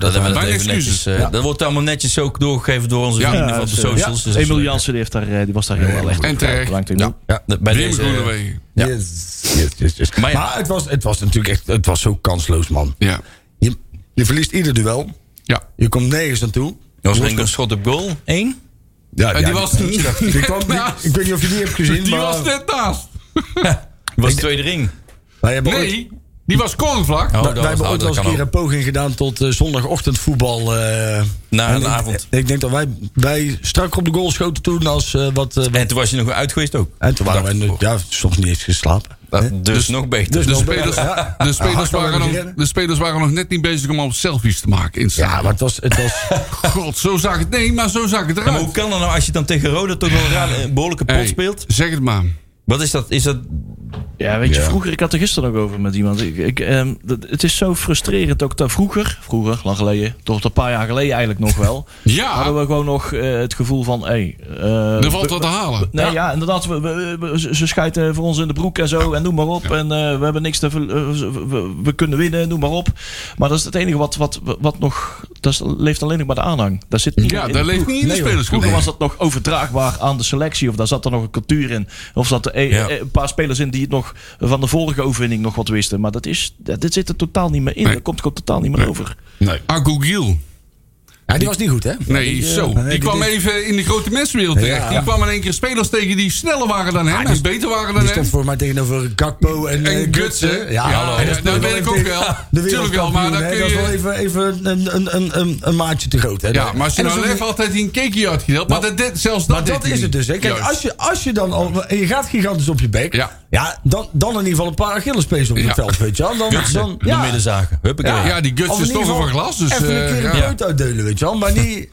D: Dat,
C: we-
D: hebben we
E: Mijn
D: dat, even
E: excuses.
D: netjes, eh,
C: Ja.
D: dat wordt allemaal netjes ook doorgegeven door onze
E: Ja. eh,
D: vrienden
E: Ja,
D: van de
F: zo.
D: socials. Dus dat is
F: Emil
D: leuk.
F: Jansen die heeft daar, eh, die was daar heel wel echt.
E: En terecht.
F: Ja.
D: Ja, bij
E: Wim
D: deze, eh,
E: Groenewegen.
D: Ja.
C: Yes, yes, yes, yes.
D: Maar
C: Maar,
D: ja.
C: het, was, het was natuurlijk echt. Het was zo kansloos, man.
E: Ja.
C: Je, je verliest ieder duel.
E: Ja.
C: Je komt nergens aan toe.
D: Er eh, was nog een schot op goal. Eén.
C: Ja,
E: die was net
C: die kwam- die-
E: naast.
C: ik weet niet of je die hebt gezien,
E: Die
C: maar...
E: was net naast.
D: was de tweede ring.
C: Wij hebben ooit,
E: Nee, die was cornvlak.
D: Oh,
C: wij- wij
D: was-
C: hebben
D: oh,
C: ooit wel eens een
D: kan
C: keer een poging gedaan tot eh, zondagochtendvoetbal. eh,
D: Na
C: en
D: een
C: ik-
D: avond.
C: Ik denk dat wij, wij strak op de goal schoten toen als eh, wat... eh,
D: ook. En toen was je nog uit geweest ook.
C: en toen waren
D: Dag
C: wij nu-
D: ervoor.
C: ja, soms niet eens geslapen.
D: Dat- dus, nog beter.
C: Dus
E: De
C: nog
E: spelers,
C: beter, ja.
E: de, spelers
C: Hard aan
E: waren
C: het
E: nog,
C: rennen.
E: de spelers waren nog net niet bezig om al selfies te maken. Insta.
C: Ja, maar het was... Het was
E: God, zo zag het. Nee, maar zo zag het
D: Ja, maar hoe
E: eruit.
D: kan dat nou als je dan tegen Roda toch wel een raar- een behoorlijke pot
E: Hey,
D: speelt?
E: Zeg het maar.
D: Wat is dat? Is dat
F: Ja, weet je, vroeger, ik had er gisteren nog over met iemand. Ik, ik, ehm, dat- het is zo frustrerend ook dat vroeger, vroeger, lang geleden, toch een paar jaar geleden eigenlijk nog wel,
E: Ja,
F: hadden we gewoon nog eh, het gevoel van, hé, hey, eh,
E: er valt wat te halen.
F: Nee, ja, inderdaad. We, we- we- ze ze schijten voor ons in de broek en zo. En noem maar op. En eh, we hebben niks te ver- eh, we, we- we kunnen winnen, noem maar op. Maar dat is het enige wat, wat, wat nog dat is- leeft alleen nog bij de aanhang. Daar zit niet
E: Ja,
F: in
E: dat
F: de
E: leeft
F: ploeg.
E: niet in de
F: Nee, hoor.
E: spelersgroep.
F: Vroeger was dat nog overdraagbaar aan de selectie. Of daar zat er nog een cultuur in. Of zat er een,
D: Ja.
F: een paar spelers in die het nog van de vorige overwinning nog wat wisten. Maar dat, is, dat, dit zit er totaal niet meer in.
E: Nee.
F: Dat komt gewoon totaal niet meer over.
E: Nee. Agogiel.
C: Ja, die was niet goed, hè?
E: Nee, zo. Die,
C: nee, die-
E: kwam
C: die-
E: even in de grote mensenwereld terecht. Die kwam in één keer spelers tegen die sneller waren dan hem en beter waren dan
C: Ah, Die
E: hem.
C: stond voor mij tegenover Gakpo en, eh,
E: En Gutsen. Ja,
C: Ja,
E: ja,
C: dat
E: dat weet ik ook wel.
C: De
E: Tuurlijk wel, maar
C: wereldkampioen,
E: dan
C: hè,
E: kun
C: dat is wel
E: je...
C: even, even een, een, een, een, een maatje te groot. Hè,
E: Ja, maar als je
C: En
E: nou
C: dat is
E: lef
C: ook-
E: altijd in een cakeje had gedeeld, maar dat, dit- zelfs dat
C: Maar dat
E: deed
C: is
E: hij
C: het dus. Hè.
E: niet.
C: Kijk,
E: Juist.
C: als je, als je dan al... en Je gaat gigantisch op je bek.
E: Ja.
C: dan, dan in ieder geval een paar Achillespees op het
E: Ja.
C: veld, weet je wel. Dan, dan,
D: De middenzagen. Huppakee.
E: Ja, die guts
C: Of in
E: is
C: ieder
E: toch
C: geval
E: van glas. Dus,
C: even
E: eh,
C: een keer
E: ja.
C: een beurt uitdelen, weet je wel. Maar niet...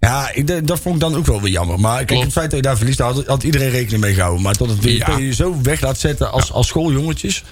C: Ja, ik, denk- dat vond ik dan ook wel weer jammer. Maar kijk,
E: Klopt.
C: het feit dat je daar verliest, daar had, had iedereen rekening mee gehouden. Maar dat het WP
E: Ja.
C: je zo weg laat zetten als, als schooljongetjes,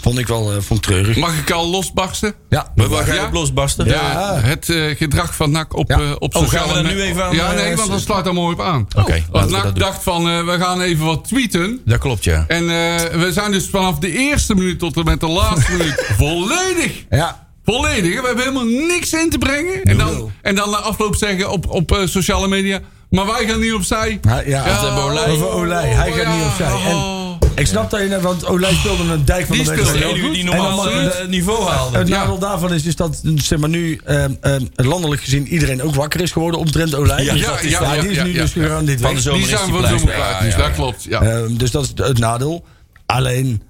C: vond ik wel eh, vond ik treurig.
E: Mag ik al losbarsten?
C: ja,
D: We gaan
E: Ja.
D: ja? losbarsten.
E: Ja,
C: Ja.
E: het eh, gedrag van NAC op,
C: Ja.
E: eh, op
D: Oh,
E: sociale
D: gaan we daar nu
E: me-
D: even aan,
E: Ja,
D: eh,
E: nee, want dat slaat daar mooi op aan.
D: Oké, laten
E: Want
D: we dat
E: NAC
D: doen.
E: dacht van, eh, we gaan even wat tweeten.
D: Dat klopt, ja.
E: En eh, we zijn dus vanaf de eerste minuut tot en met de laatste minuut volledig.
C: ja.
E: Volledig. hè. We hebben helemaal niks in te brengen. En dan, en dan na afloop zeggen op, op eh, sociale media. Maar wij gaan niet opzij.
C: Ja, ja.
E: Ja,
C: Over Olij. Over Olij. Hij gaat niet opzij. En ik snap dat je net, want Olij speelde een dijk van
E: Die
C: de weg.
E: speelde
C: En
E: heel
D: Die,
E: goed.
D: die
C: dan
D: normaal
C: mag-
D: eh, het niveau haalde.
C: Het
E: Ja.
C: nadeel daarvan is, is dat zeg maar, nu ehm, ehm, landelijk gezien iedereen ook wakker is geworden omtrent Olij.
D: Ja,
C: Dus
E: ja,
C: dat is-
E: ja, ja,
C: die is nu
E: ja,
C: dus
E: ja.
C: gegaan dit
D: Van
C: weg.
D: de zomer
E: die
D: is
E: zijn
D: die
E: van
D: blij.
E: zo'n
D: Ja,
E: praat. Dus
D: ja,
E: dat
D: ja.
E: klopt. Ja.
C: Ehm, dus dat is het- het nadeel. Alleen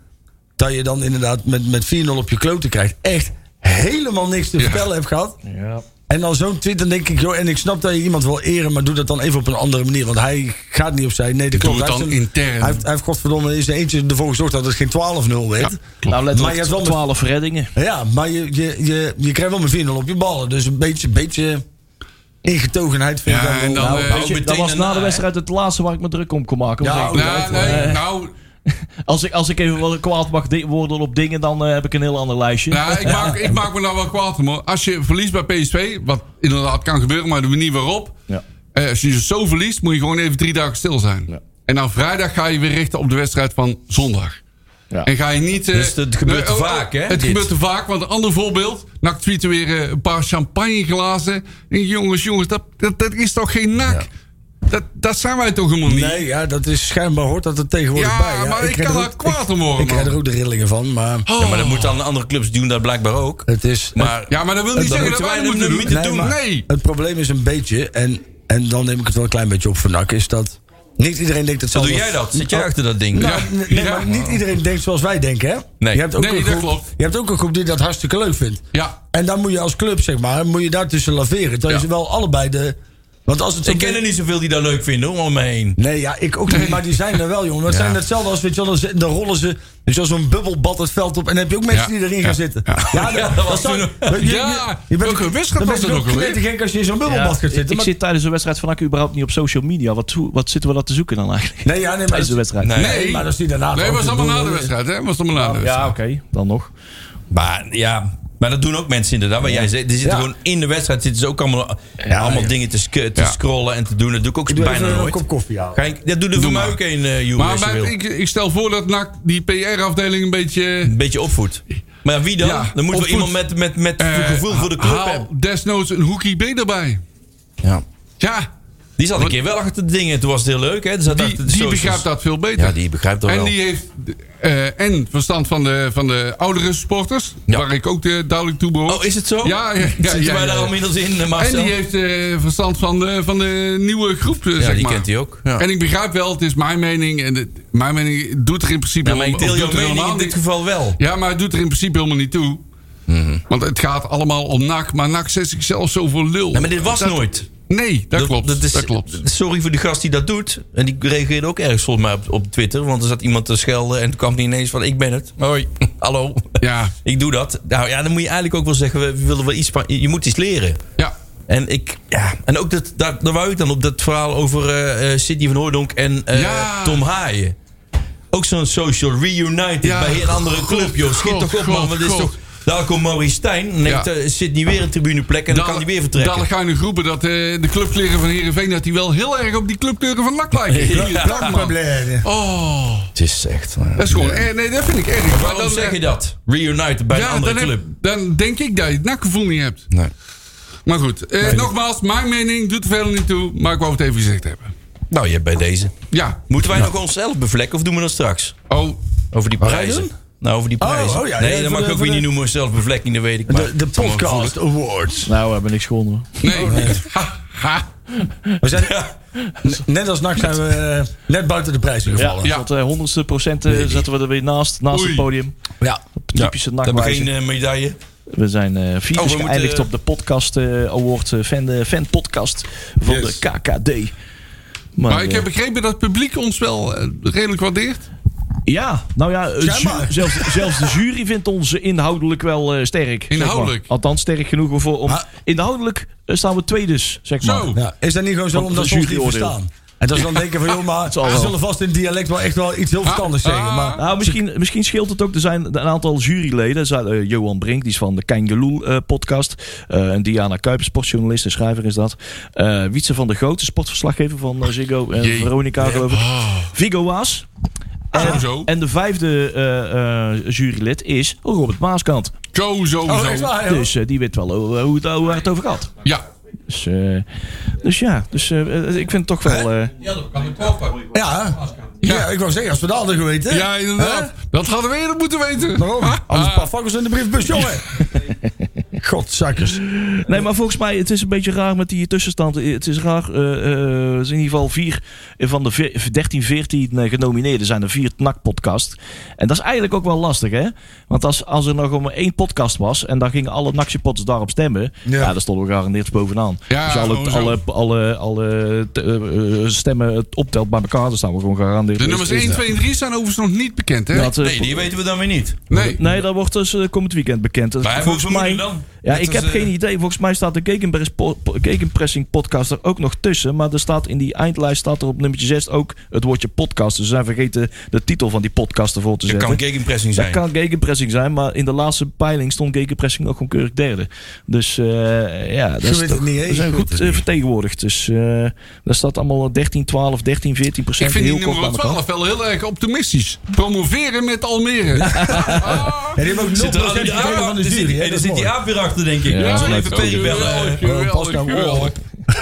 C: dat je dan inderdaad met, met 4-0 op je kloten krijgt. Echt helemaal niks te vertellen hebt gehad.
F: Ja.
C: En dan zo'n tweet, dan denk ik, joh, en ik snap dat je iemand wil eren, maar doe dat dan even op een andere manier. Want hij gaat niet opzij. Nee, dat klopt.
E: het
C: Hij
E: dan
C: heeft een-
E: intern.
C: Hij heeft, hij heeft godverdomme in zijn eentje ervoor gezorgd dat het geen 12-0 werd.
F: Nou,
C: Maar je
F: letterlijk
C: hebt wel met-
F: 12 reddingen.
C: Ja, maar je, je, je, je krijgt wel met 4-0 op je ballen. Dus een beetje, beetje ingetogenheid vind
E: Ja,
C: ik
E: en
C: dan wel.
E: dan,
C: Nou,
E: eh,
F: Weet je,
D: meteen
F: dat was na
D: daarna,
F: de
D: hè?
F: wedstrijd het laatste waar ik me druk om kon maken.
C: Ja,
F: Want ik-
E: Nou, nee, nou,
F: als, ik, als ik even wel kwaad mag di- worden op dingen, dan eh, heb ik een heel ander lijstje.
E: nou, ik, maak, ik maak me nou wel kwaad om. hoor. Als je verliest bij PSV, wat inderdaad kan gebeuren, maar de manier waarop.
F: Ja.
E: eh, als je dus zo verliest, moet je gewoon even drie dagen stil zijn. En dan vrijdag ga je weer richten op de wedstrijd van zondag.
F: Ja.
E: En ga je niet... eh,
D: Dus het gebeurt te
E: eh, oh, oh,
D: vaak, hè,
E: Het
D: dit?
E: gebeurt te vaak, want een ander voorbeeld. NAC tweeten weer eh, een paar champagneglazen. Ik denk, Jongens, jongens, dat, dat, dat is toch geen NAC? Dat, dat zijn wij toch helemaal niet?
C: nee, ja, dat is schijnbaar hoort dat er
E: Ja,
C: tegenwoordig bij.
E: maar ik
C: krijg
E: kan
C: er
E: daar
C: ook-
E: kwaad om worden,
C: Ik, ik krijg
E: man.
C: er ook de rillingen van, maar...
D: Ja, maar dat moeten aan andere clubs doen, dat blijkbaar ook.
C: Het is.
D: Maar,
E: Ja, maar dat wil niet
D: Dan
E: zeggen dat
D: moeten
E: wij
D: wij
E: dat
D: hem
E: moeten
D: niet
E: doen.
D: te doen.
E: Nee.
C: maar
E: nee.
C: Het probleem is een beetje, en, en dan neem ik het wel een klein beetje op voor NAC, is dat niet iedereen denkt
D: Zo
C: hetzelfde.
D: doe jij dat? Zit jij achter dat ding?
C: Nou,
E: Ja.
C: n- nee,
E: Ja.
C: maar niet iedereen denkt zoals wij denken, hè?
D: Nee.
C: je hebt ook
E: Nee,
C: een
E: dat
C: groep,
E: klopt.
C: Je hebt ook een groep die dat hartstikke leuk vindt.
E: Ja.
C: En dan moet je als club, zeg maar, moet je daartussen laveren. Terwijl
E: Ja.
C: je ze wel allebei de... Want als het zo
D: Ik ken er niet zoveel die dat leuk vinden, hoor, om me heen.
C: Nee, ja, ik ook niet, maar die zijn er wel, jongen. Dat
D: Ja.
C: zijn hetzelfde als, weet je wel, dan, dan rollen ze weet je wel, zo'n bubbelbad het veld op... en dan heb je ook mensen
E: Ja.
C: die erin
E: Ja.
C: gaan zitten.
E: Ja.
D: Ja, dat was
C: zou-
D: toen
C: je- je-
E: Ja,
C: je bent
E: welke
C: ook-
E: wedstrijd
C: dan
E: was
C: ben
E: dat
C: je
E: ook alweer?
C: knettergek als je in zo'n
F: Ja,
C: bubbelbad gaat
F: ik-
C: zitten.
F: ik
C: maar-
F: zit tijdens de wedstrijd van NAC überhaupt niet op social media. Wat, wat zitten we dat te zoeken dan eigenlijk?
C: Nee, ja, nee, maar...
F: tijdens de wedstrijd.
D: Nee.
C: Nee, maar dat is niet daarna.
E: Nee,
C: toch?
E: was
C: Ik
E: allemaal na
C: bedoel,
E: de wedstrijd, hè? Was allemaal na de wedstrijd.
F: Ja, oké, dan nog.
D: Maar ja, maar dat doen ook mensen inderdaad. Maar jij zegt, die zitten
C: Ja.
D: gewoon in de wedstrijd. Zitten ze ook allemaal, eh, allemaal dingen te, sc- te scrollen en te doen. Dat doe ik ook
C: doe
D: bijna
C: even een
D: nooit.
C: kop koffie halen.
D: Ga ik, dat doe de voor mij ook een, eh Joeri,
E: Maar
D: als je
E: bij-
D: wil.
E: ik, ik stel voor dat NAC die PR-afdeling een beetje...
D: Een beetje opvoed. Maar ja, wie dan?
E: Ja,
D: dan moet wel
E: opvoed.
D: iemand met, met, met
E: eh,
D: gevoel voor de club
E: haal
D: hebben.
E: desnoods een hoekie B erbij.
D: Ja.
E: Ja,
D: Die zat een keer wel achter de dingen. Toen was het heel leuk. Hè? Die zat
E: die,
D: achter de
E: die
D: socials.
E: begrijpt dat veel beter.
D: dus- Ja, die begrijpt dat
E: en
D: wel.
E: die heeft eh, en verstand van de, van de oudere supporters.
D: Ja.
E: Waar ik ook eh, duidelijk toe behoor.
D: Oh, is het zo?
E: Ja, ja, ja,
D: Zitten
E: ja,
D: wij
E: ja.
D: daar al inmiddels in, eh,
E: en
D: Marcel?
E: die heeft eh, verstand van de, van de nieuwe groep, eh, zeg
D: die
E: maar.
D: kent hij ook, ja.
E: En ik begrijp wel, het is mijn mening. En het- mijn mening doet er in principe
D: ja, Nou, maar ik deel
E: helemaal- of
D: jouw
E: doet
D: mening
E: er helemaal
D: in dit
E: niet-
D: geval wel.
E: Ja, maar het doet er in principe helemaal niet toe.
D: Mhm.
E: Want het gaat allemaal om NAC. Maar NAC zet zichzelf zo voor lul.
D: Ja, maar dit was
E: Dat-
D: nooit.
E: Nee, dat, klopt. Dat,
D: is-
E: klopt.
D: Sorry voor de gast die dat doet. En die reageerde ook ergens volgens mij op, op Twitter. Want er zat iemand te schelden en toen kwam die ineens van... Ik ben het. Hoi. Hallo.
E: Ja.
D: Ik doe dat. Nou ja, dan moet je eigenlijk ook wel zeggen... We willen wel iets, van- je moet iets leren.
E: Ja.
D: En ik... Ja. En ook dat... Daar, daar wou ik dan op dat verhaal over eh, eh, Sidney van Hoordonk en eh,
E: Ja.
D: Tom Haaien. Ook zo'n social reunited
E: Ja.
D: bij een andere
E: God,
D: club, joh. Schiet
E: God,
D: toch op, man.
E: God,
D: Want dit is
E: God.
D: toch... Daar komt Maurice Stijn. Dan
E: Ja.
D: heeft eh, Sidney weer een tribuneplek en dan, kan hij weer vertrekken.
E: Dan ga je nu groepen dat eh, de clubkleren van Heerenveen... dat die wel heel erg op die clubkleuren van NAC lijken.
D: Ja.
E: Goeie dag, man.
C: Blablabla.
E: Oh,
D: Het is echt... eh,
E: dat is gewoon... eh, nee, dat vind ik erg. Maar
D: Waarom
E: dan,
D: zeg
E: eh,
D: je dat? Reunited bij een
E: Ja,
D: andere
E: dan, heb-
D: club.
E: dan denk ik dat je het NAC-gevoel niet hebt.
D: Nee.
E: Maar goed, eh, nogmaals, mijn mening doet er verder niet toe. Maar ik wou het even gezegd hebben.
D: Nou, je hebt bij deze.
E: Ja.
D: Moeten wij nog onszelf bevlekken of doen we dat straks?
E: Oh,
D: Over die prijzen.
C: doen?
D: Nou, over die prijzen.
C: oh ja,
D: nee,
C: ja,
D: dat
C: voor
D: mag
C: de-
D: ik ook
C: voor
D: weer
C: de-
D: niet noemen. Zelfbevlekking, dat weet ik. maar
C: De, de
D: het is allemaal
C: Podcast Awards.
F: Nou, we hebben niks gewonnen.
E: nee. Ha, ha.
C: We zijn, Net als NAC zijn we eh, net buiten de prijs
F: Ja,
C: gevallen.
E: Ja.
F: Tot honderdste procent eh, zetten we er weer naast, naast
E: Oei.
F: het podium.
C: Ja.
F: Typische
D: We hebben
F: nachtwijze.
D: geen eh, medaille.
F: We zijn eh vier
D: Oh, we
F: keer
D: moeten,
F: geëindigd
D: eh,
F: op de podcast eh, award, eh, fan, eh, fan podcast van
E: Yes.
F: de KKD. Maar,
E: Maar ik
F: eh,
E: heb begrepen dat het publiek ons wel eh, redelijk waardeert.
F: Ja, nou ja, het
C: Zeg
F: ju-
C: maar.
F: zelfs, zelfs de jury vindt ons eh, inhoudelijk wel eh, sterk. zeg maar.
E: Inhoudelijk?
F: Althans, sterk genoeg om... voor- om
C: Ah.
F: Inhoudelijk eh, staan we tweedes, zeg maar.
E: Zo.
C: Ja, Is dat niet gewoon zo
F: Want
C: omdat
F: de
C: ze ons niet
F: juryoordeel.
C: verstaan? En dat ze dan denken van, joh, maar
F: zal
C: ze
F: wel.
C: zullen vast in dialect wel echt wel iets heel verstandigs
E: Ah,
C: zeggen. Maar
F: Nou, misschien, misschien scheelt het ook. Er zijn een aantal juryleden. Er zijn, eh, Johan Brink, die is van de Kangeloel eh podcast. Eh, en Diana Kuiper, sportjournalist en schrijver is dat. Eh Wietse van der Goot, de sportverslaggever van eh, Ziggo en
E: Jee. Ah.
F: Veronica, geloof ik. Vigo Waas. En,
E: Sowieso.
F: en de vijfde eh, eh, jurylid is Robert Maaskant.
E: Zo, zo,
C: Oh, echt
E: zo.
C: waar, joh?
F: Dus eh, die weet wel hoe, hoe, het- hoe waar het over gaat.
E: Ja.
F: Dus, eh, dus ja, dus, eh, eh, ik vind het toch wel... eh,
C: ja, ja. ik wou zeggen, als we dat hadden geweten.
E: Ja, inderdaad. Dat hadden we eerder moeten weten.
C: Waarom? Anders een paar fakkels in de briefbus, jongen. Godzakkers.
F: Nee, maar volgens mij, het is een beetje raar met die tussenstand. Het is raar. eh, eh, er zijn in ieder geval vier eh, van de ve- 13, 14 eh, genomineerden zijn er vier NAC-podcast. En dat is eigenlijk ook wel lastig, hè? Want als, als er nog maar één podcast was en dan gingen alle NAC-supporters daarop stemmen,
C: Ja.
F: ja. dan stonden we gegarandeerd bovenaan.
E: Ja,
F: dus alle,
E: sowieso.
F: alle, alle, alle eh, eh, stemmen optelt bij elkaar, dan staan we gewoon gegarandeerd.
E: De nummers
F: eerst.
E: 1, 2 en 3 zijn overigens nog niet bekend, hè?
F: nou? Dat, eh,
D: Nee, die weten we dan weer niet.
E: nee.
F: Nee, dat wordt dus eh, komend weekend bekend.
D: Maar hebben we vermoeden dan?
F: Ja,
D: Net
F: ik heb
D: als, eh,
F: geen idee. Volgens mij staat de Gegenpress po- po- Gegenpressing podcast er ook nog tussen. Maar er staat in die eindlijst staat er op nummer 6 ook het woordje podcast. Dus ze zijn vergeten de titel van die podcast ervoor te
D: Dat
F: zetten.
D: kan gegenpressing zijn.
F: Dat kan Gegenpressing zijn. Maar in de laatste peiling stond Gegenpressing ook gewoon keurig derde. Dus eh, ja, dat
C: weet
F: is
C: het
F: toch-
C: niet, hè?
F: we zijn
C: Je weet
F: goed
C: het
F: eh,
C: niet.
F: vertegenwoordigd. Dus eh daar staat allemaal eh, 13, 12, 13, 14
E: Ik
F: procent.
E: vind
F: heel
E: die
F: kort bij
E: nummer
F: elkaar.
E: 12 wel heel erg optimistisch. Promoveren met Almere. Ah,
C: En die hebben ook 0%
D: Zit er al die aap
C: gekregen van de
D: achter? Zit-
C: jury.
D: hey,
C: hè, dat
D: Daar
C: is
D: zit die
C: mooi.
D: aap weer achter, denk ik.
F: Ja,
D: Ja,
F: dat
D: zal even
F: klopt.
D: Perry bellen. eh.
E: geweldig,
C: Pas nou,
E: geweldig.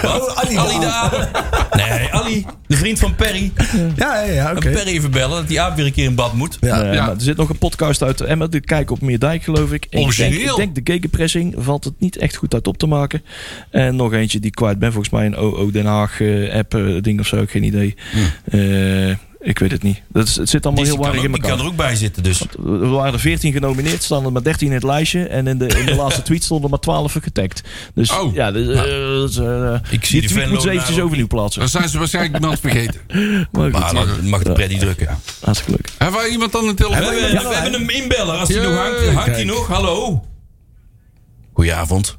C: Oh, Ali de
D: Ali de
C: aap.
D: aap. Nee, Ali, de vriend van Perry.
C: Ja, ja, ja, oké.
D: En Perry even bellen dat die aap weer een keer in bad moet.
C: Ja.
F: Eh,
E: Ja.
F: maar er zit nog een podcast uit Emmen. De Kijk op Meerdijk, geloof ik. En ik, denk,
E: Origineel.
F: ik denk de gegenpressing valt het niet echt goed uit op te maken. En nog eentje die ik kwijt ben. Volgens mij een OO Den Haag eh, app eh, ding of zo. Ik geen idee. Eh, ik weet het niet. Dat is, het zit allemaal
D: Hm. Die
F: heel
D: kan,
F: weinig in
D: ook- die kan
F: elkaar.
D: er ook bij zitten, dus.
F: Er waren er 14 genomineerd, staan er maar 13 in het lijstje. En in de, in de laatste tweet stonden maar 12 getagd. Dus
E: Oh.
F: ja, dus, eh, dat is, eh,
D: Nou. Ik
F: die
D: zie die
F: tweet
D: Venlo
F: moet ze
D: daar
F: eventjes
D: ook.
F: overnieuw plaatsen.
E: Dan zijn ze waarschijnlijk iemand vergeten.
F: Maar goed,
D: Maar dat Ah, mag de pret niet drukken.
F: hartstikke leuk.
E: Hebben wij iemand aan de
D: We
E: telefoon?
D: hebben, we hebben hem inbellen. Als hij
E: Ja,
D: nog hangt, hangt hij
C: kijk.
D: nog? Hallo? Goedenavond.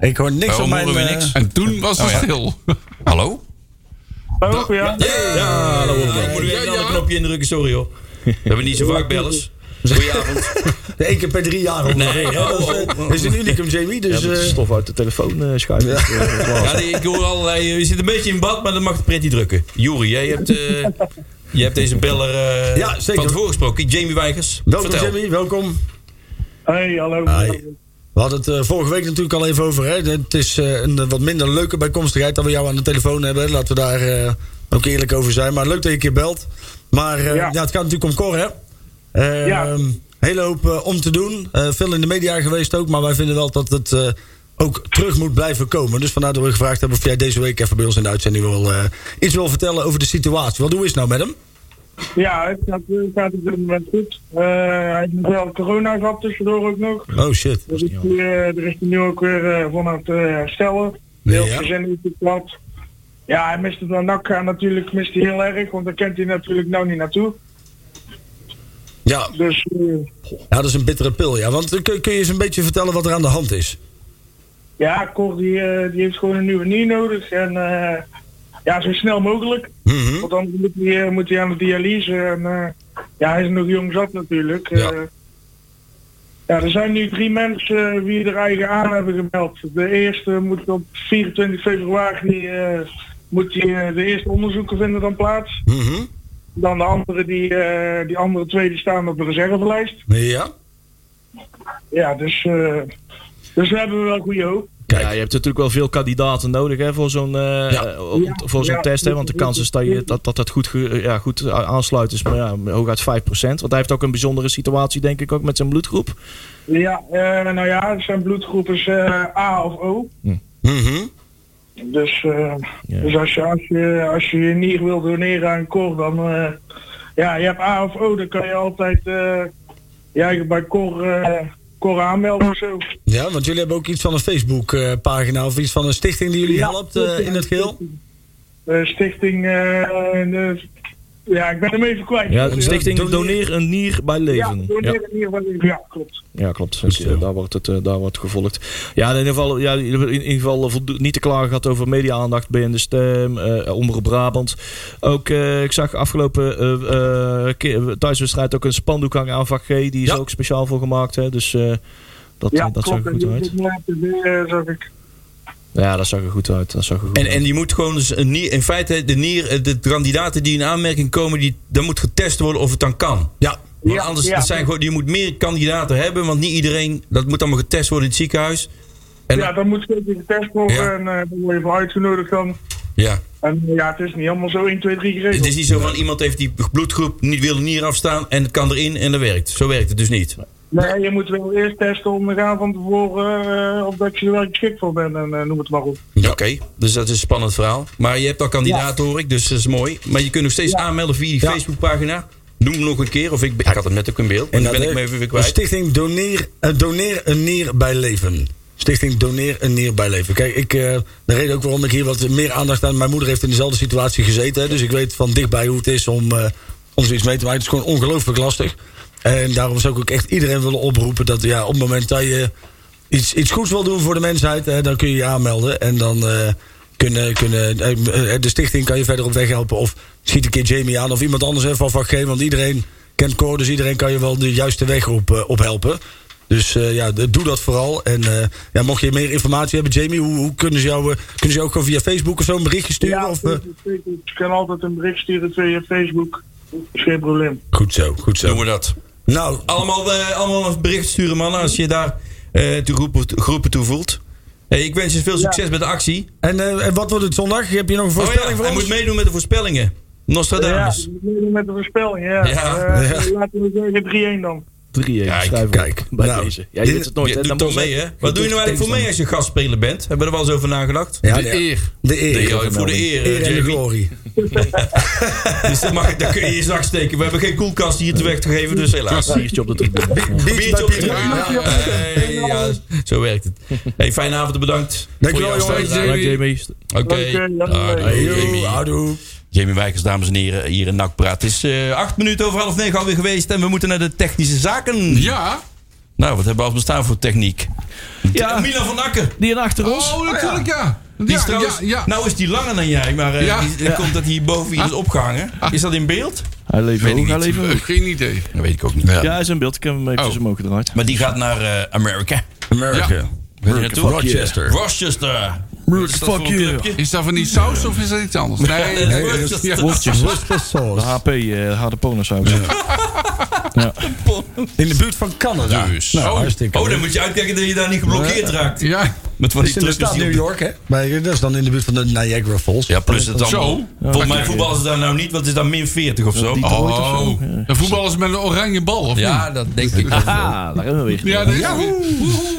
C: Ik hoor niks
D: Waarom
C: op mijn...
D: horen we
C: eh,
D: niks? Oh,
E: En toen was het stil.
D: Hallo?
A: Hallo, ja.
D: Ja, dan wordt het wel. Moet ik
E: Ja,
D: even een
E: ja.
D: knopje indrukken, sorry hoor. We hebben niet zo vaak bellers. Goedenavond.
C: De één keer per drie jaar. hoor.
D: Nee,
C: Ja, dat is, eh, dat is een unicum, Jamie. Dus,
F: Dat
C: eh,
F: is stof uit de telefoon eh schuiven.
D: Ja, nee, ik hoor allerlei. eh, Je zit een beetje in bad, maar dat mag de pret niet drukken. Juri, jij hebt, eh, jij hebt deze beller eh,
C: Ja, zeker.
D: van tevoren gesproken. Jamie Weigers.
C: welkom,
D: vertel.
C: Jamie. Welkom.
A: Hey, hallo.
C: Hi. We hadden het eh, vorige week natuurlijk al even over. Hè. Het is eh, een wat minder leuke bijkomstigheid dat we jou aan de telefoon hebben. Laten we daar eh, ook eerlijk over zijn. Maar leuk dat je een keer belt. Maar eh, ja.
A: Ja.
C: het gaat natuurlijk om Cor, hè? Eh,
A: Ja.
C: Hele hoop eh, om te doen. Eh, veel in de media geweest ook. Maar wij vinden wel dat het eh, ook terug moet blijven komen. Dus vandaar dat we gevraagd hebben of jij deze week even bij ons in de uitzending wil, eh, iets wil vertellen over de situatie. Wat hoe is het nou met hem?
A: Ja, het gaat, het gaat op dit moment goed. Eh, hij heeft zelf corona gehad tussendoor ook nog.
C: Oh shit.
A: Dus ik, eh, er is hij nu ook weer eh, van aan het eh, herstellen. Heel
C: Ja.
A: gezin is het wat. Ja, hij mist het naar NAC gaan natuurlijk mist hij heel erg, want daar kent hij natuurlijk nou niet naartoe.
C: Ja,
A: Dus eh,
C: ja dat is een bittere pil. Ja. Want eh, kun, kun je eens een beetje vertellen wat er aan de hand is?
A: ja, Cor die, eh, die heeft gewoon een nieuwe knie nodig. En eh, ja, zo snel mogelijk.
C: Mhm.
A: Want anders moet hij, eh, moet hij aan de dialyse. En, eh, ja, hij is nog jong zat natuurlijk. Eh,
C: Ja.
A: Ja. er zijn nu drie mensen eh, die er eigen aan hebben gemeld. De eerste moet op 24 februari eh, moet die, eh, de eerste onderzoeken vinden dan plaats.
C: Mhm.
A: Dan de andere, die, eh, die andere twee die staan op de reservelijst.
C: Ja.
A: Ja, dus eh, Dus we hebben wel goede hoop.
C: Kijk.
F: Ja, je hebt natuurlijk wel veel kandidaten nodig hè, voor zo'n eh,
C: Ja.
F: eh, om- voor zo'n
A: Ja.
F: test. Hè, want de kans is dat je, dat, dat, dat goed, ge- ja, goed a- aansluit is maar ja, hooguit 5%. Want hij heeft ook een bijzondere situatie, denk ik, ook met zijn bloedgroep.
A: Ja, eh, nou ja, het zijn bloedgroepen eh, A of O.
C: Mhm.
A: Dus, eh,
F: Ja.
A: dus als, je, als, je, als je je nier wil doneren aan Cor, dan... eh, ja, je hebt A of O, dan kan je altijd eh, ja, bij Cor, eh, Cor aanmelden of zo.
C: Ja, want jullie hebben ook iets van een Facebook-pagina of iets van een stichting die jullie
A: Ja,
C: helpt eh, in het geheel?
A: Eh, stichting... eh, en, eh, ja, ik ben hem even kwijt.
F: Ja, de stichting
C: doneer-
F: Doneer een Nier bij
A: Ja,
F: Leven.
A: doneer een nier van leven. Ja, klopt.
F: Ja, klopt. Dus, eh, daar, wordt het, eh, daar wordt gevolgd. Ja, in ieder geval, ja, in in ieder geval eh, voldo- niet te klagen gehad over media-aandacht. BN De Stem, eh Omroep Brabant. Ook, eh, ik zag afgelopen eh, eh, keer- thuiswedstrijd ook een spandoek hangen aan vak G. Die is
C: Ja.
F: ook speciaal voor gemaakt. Hè, dus eh, dat,
A: Ja,
F: eh, dat zag
A: klopt.
F: er goed
A: En
F: uit.
A: die- eh, zag ik.
F: Ja, dat zag er goed uit. Dat zag er goed
D: En,
F: uit.
D: en je moet gewoon dus een nier, in feite de, nier, eh, de kandidaten die in aanmerking komen, die, dan moet getest worden of het dan kan.
C: Ja.
D: Want
A: Ja,
D: anders
A: ja.
D: dat zijn gewoon, je moet meer kandidaten hebben, want niet iedereen, dat moet allemaal getest worden in het ziekenhuis. En
A: Ja, dan moet zeker getest worden
D: Ja.
A: en eh, dan word je voor uitgenodigd dan.
D: ja.
A: En eh, ja, het is niet allemaal zo 1, 2, 3
D: Het is
A: geregeld.
D: niet zo van iemand heeft die bloedgroep, niet, wil een nier afstaan en het kan erin en dat werkt. Zo werkt het dus niet.
A: Nee, je moet wel eerst testen ondergaan van tevoren eh, of dat je er wel geschikt voor bent en eh, noem het maar op.
D: Oké, dus dat is een spannend verhaal. Maar je hebt al kandidaten hoor ik, dus dat is mooi. Maar je kunt nog steeds aanmelden via die
C: Ja.
D: Facebookpagina. Noem hem nog een keer, of ik, ben- ik had het net ook in beeld, maar dan ben ik
C: dat
D: me
C: heet
D: even weer
C: de
D: kwijt.
C: Stichting Doneer, eh, Doneer een Nier bij Leven. Stichting Doneer een Nier bij Leven. Kijk, ik, eh, de reden ook waarom ik hier wat meer aandacht aan... Mijn moeder heeft in dezelfde situatie gezeten. Hè, dus ik weet van dichtbij hoe het is om, eh om zoiets mee te maken. Het is gewoon ongelooflijk lastig. En daarom zou ik ook echt iedereen willen oproepen... dat ja, op het moment dat je iets, iets goeds wil doen voor de mensheid... hè, dan kun je je aanmelden en dan... eh, kunnen, kunnen, eh, de stichting kan je verder op weg helpen. Of schiet een keer Jamie aan of iemand anders even van geven. Want iedereen kent Cor, dus iedereen kan je wel de juiste weg op, eh, op helpen. Dus eh, ja, de- doe dat vooral. En eh, ja, mocht je meer informatie hebben, Jamie, hoe, hoe kunnen, ze jou, eh, kunnen ze jou ook gewoon via Facebook of zo een berichtje sturen?
A: Ja,
C: of, eh?
A: je kan altijd een bericht sturen via Facebook. Is geen probleem.
C: Goed zo, goed zo.
D: Doen we dat.
C: Nou,
D: Allemaal, eh, allemaal een bericht sturen, mannen, als je daar eh toe groepen, groepen toe voelt. Hey, ik wens je veel succes met de actie.
C: en, eh, en wat wordt het zondag? Heb je nog een
D: Oh
C: voorspelling
D: ja,
C: voor
D: hij
C: ons?
D: moet meedoen met de voorspellingen. Nostradamus.
A: Ja, we doen met de voorspelling,
D: Ja.
A: ja. Eh,
C: Ja.
A: Laten we zeggen 3-1 dan.
F: 3
D: Kijk,
F: eh, schrijven we
C: kijk.
F: bij
C: Nou,
F: deze. Ja, je
C: dit-
F: weet het nooit.
D: Je
F: hè,
D: doet
F: dan
D: toch
F: moet je-
D: mee, hè? Wat doe je nou eigenlijk voor mee als je gastspeler bent? Hebben we er wel eens over nagedacht?
C: Ja,
E: de
C: nee,
E: eer.
C: de eer.
D: De eer, voor de eer,
C: Eer en de
D: Jamie.
C: glorie.
D: Dus dat, mag, dat kun je in je zak steken. We hebben geen koelkast hier te weg te geven, dus helaas.
F: Een biertje op de tribune.
C: Beach
D: Biertje
C: by
D: op de
C: Pieter.
D: tribune.
C: Ja.
D: Hey, ja, zo werkt het. Hey, fijne avond en bedankt.
C: Dankjewel,
D: voor je
E: jongens.
D: afspraak.
F: Dank Jamie.
D: Oké.
A: Dank je.
D: Dag,
A: Hey,
C: Yo,
D: Jamie.
C: houdoe.
D: Jamie Wijkers, dames en heren, hier in NAC Praat. Het is eh, acht minuten over half negen alweer geweest en we moeten naar de technische zaken.
E: Ja.
D: Nou, wat hebben we al bestaan voor techniek?
F: Ja.
D: Ja. Milan van Akker.
F: Die en achter ons.
E: Oh, natuurlijk ja.
D: Die
E: Ja,
D: is trouwens,
E: ja, ja.
D: Nou is die langer dan jij, maar eh,
E: Ja. Ah.
D: die, dat komt dat hij boven hier is opgehangen. Is dat in beeld?
F: Hij leeft
D: Weet ik
F: hoog, hij
D: niet.
F: leeft hoog.
E: Eh, Geen idee.
D: Dat weet ik ook niet.
F: Ja, hij is in beeld. Ik heb hem eventjes
E: Oh.
F: omhoog gedraaid.
D: Maar die gaat naar eh Amerika.
E: Ja.
D: Waar gaat die naartoe?
C: Rochester.
D: Rochester. Wat is
F: fuck
D: dat voor een
F: you.
D: clubje?
E: Is dat van die saus of is dat iets anders? Nee,
D: Nee,
E: nee,
D: dat is-
E: ja.
F: Worstjes. De
C: Worcestershire.
F: HP, eh harde ponensaus.
C: In de buurt van Canada.
D: Dus.
C: Nou,
D: oh,
C: hartstikke
D: oh, dan
C: leuk.
D: moet je uitkijken dat je daar niet geblokkeerd raakt.
E: Ja.
D: Met van
C: Dat is
D: die
C: in
D: truckers
C: de stad
D: die op
C: New
D: de-
C: York, hè? Maar dat is dan in de buurt van de Niagara Falls.
D: Ja, plus het dan.
E: Zo.
D: Volgens mij voetballen ze daar nou niet, want het is dan min 40 of zo.
E: Oh, de voetballers met een oranje bal, of niet?
D: Ja, dat denk ik.
F: Ah, daar hebben we weer.
E: Ja, dat is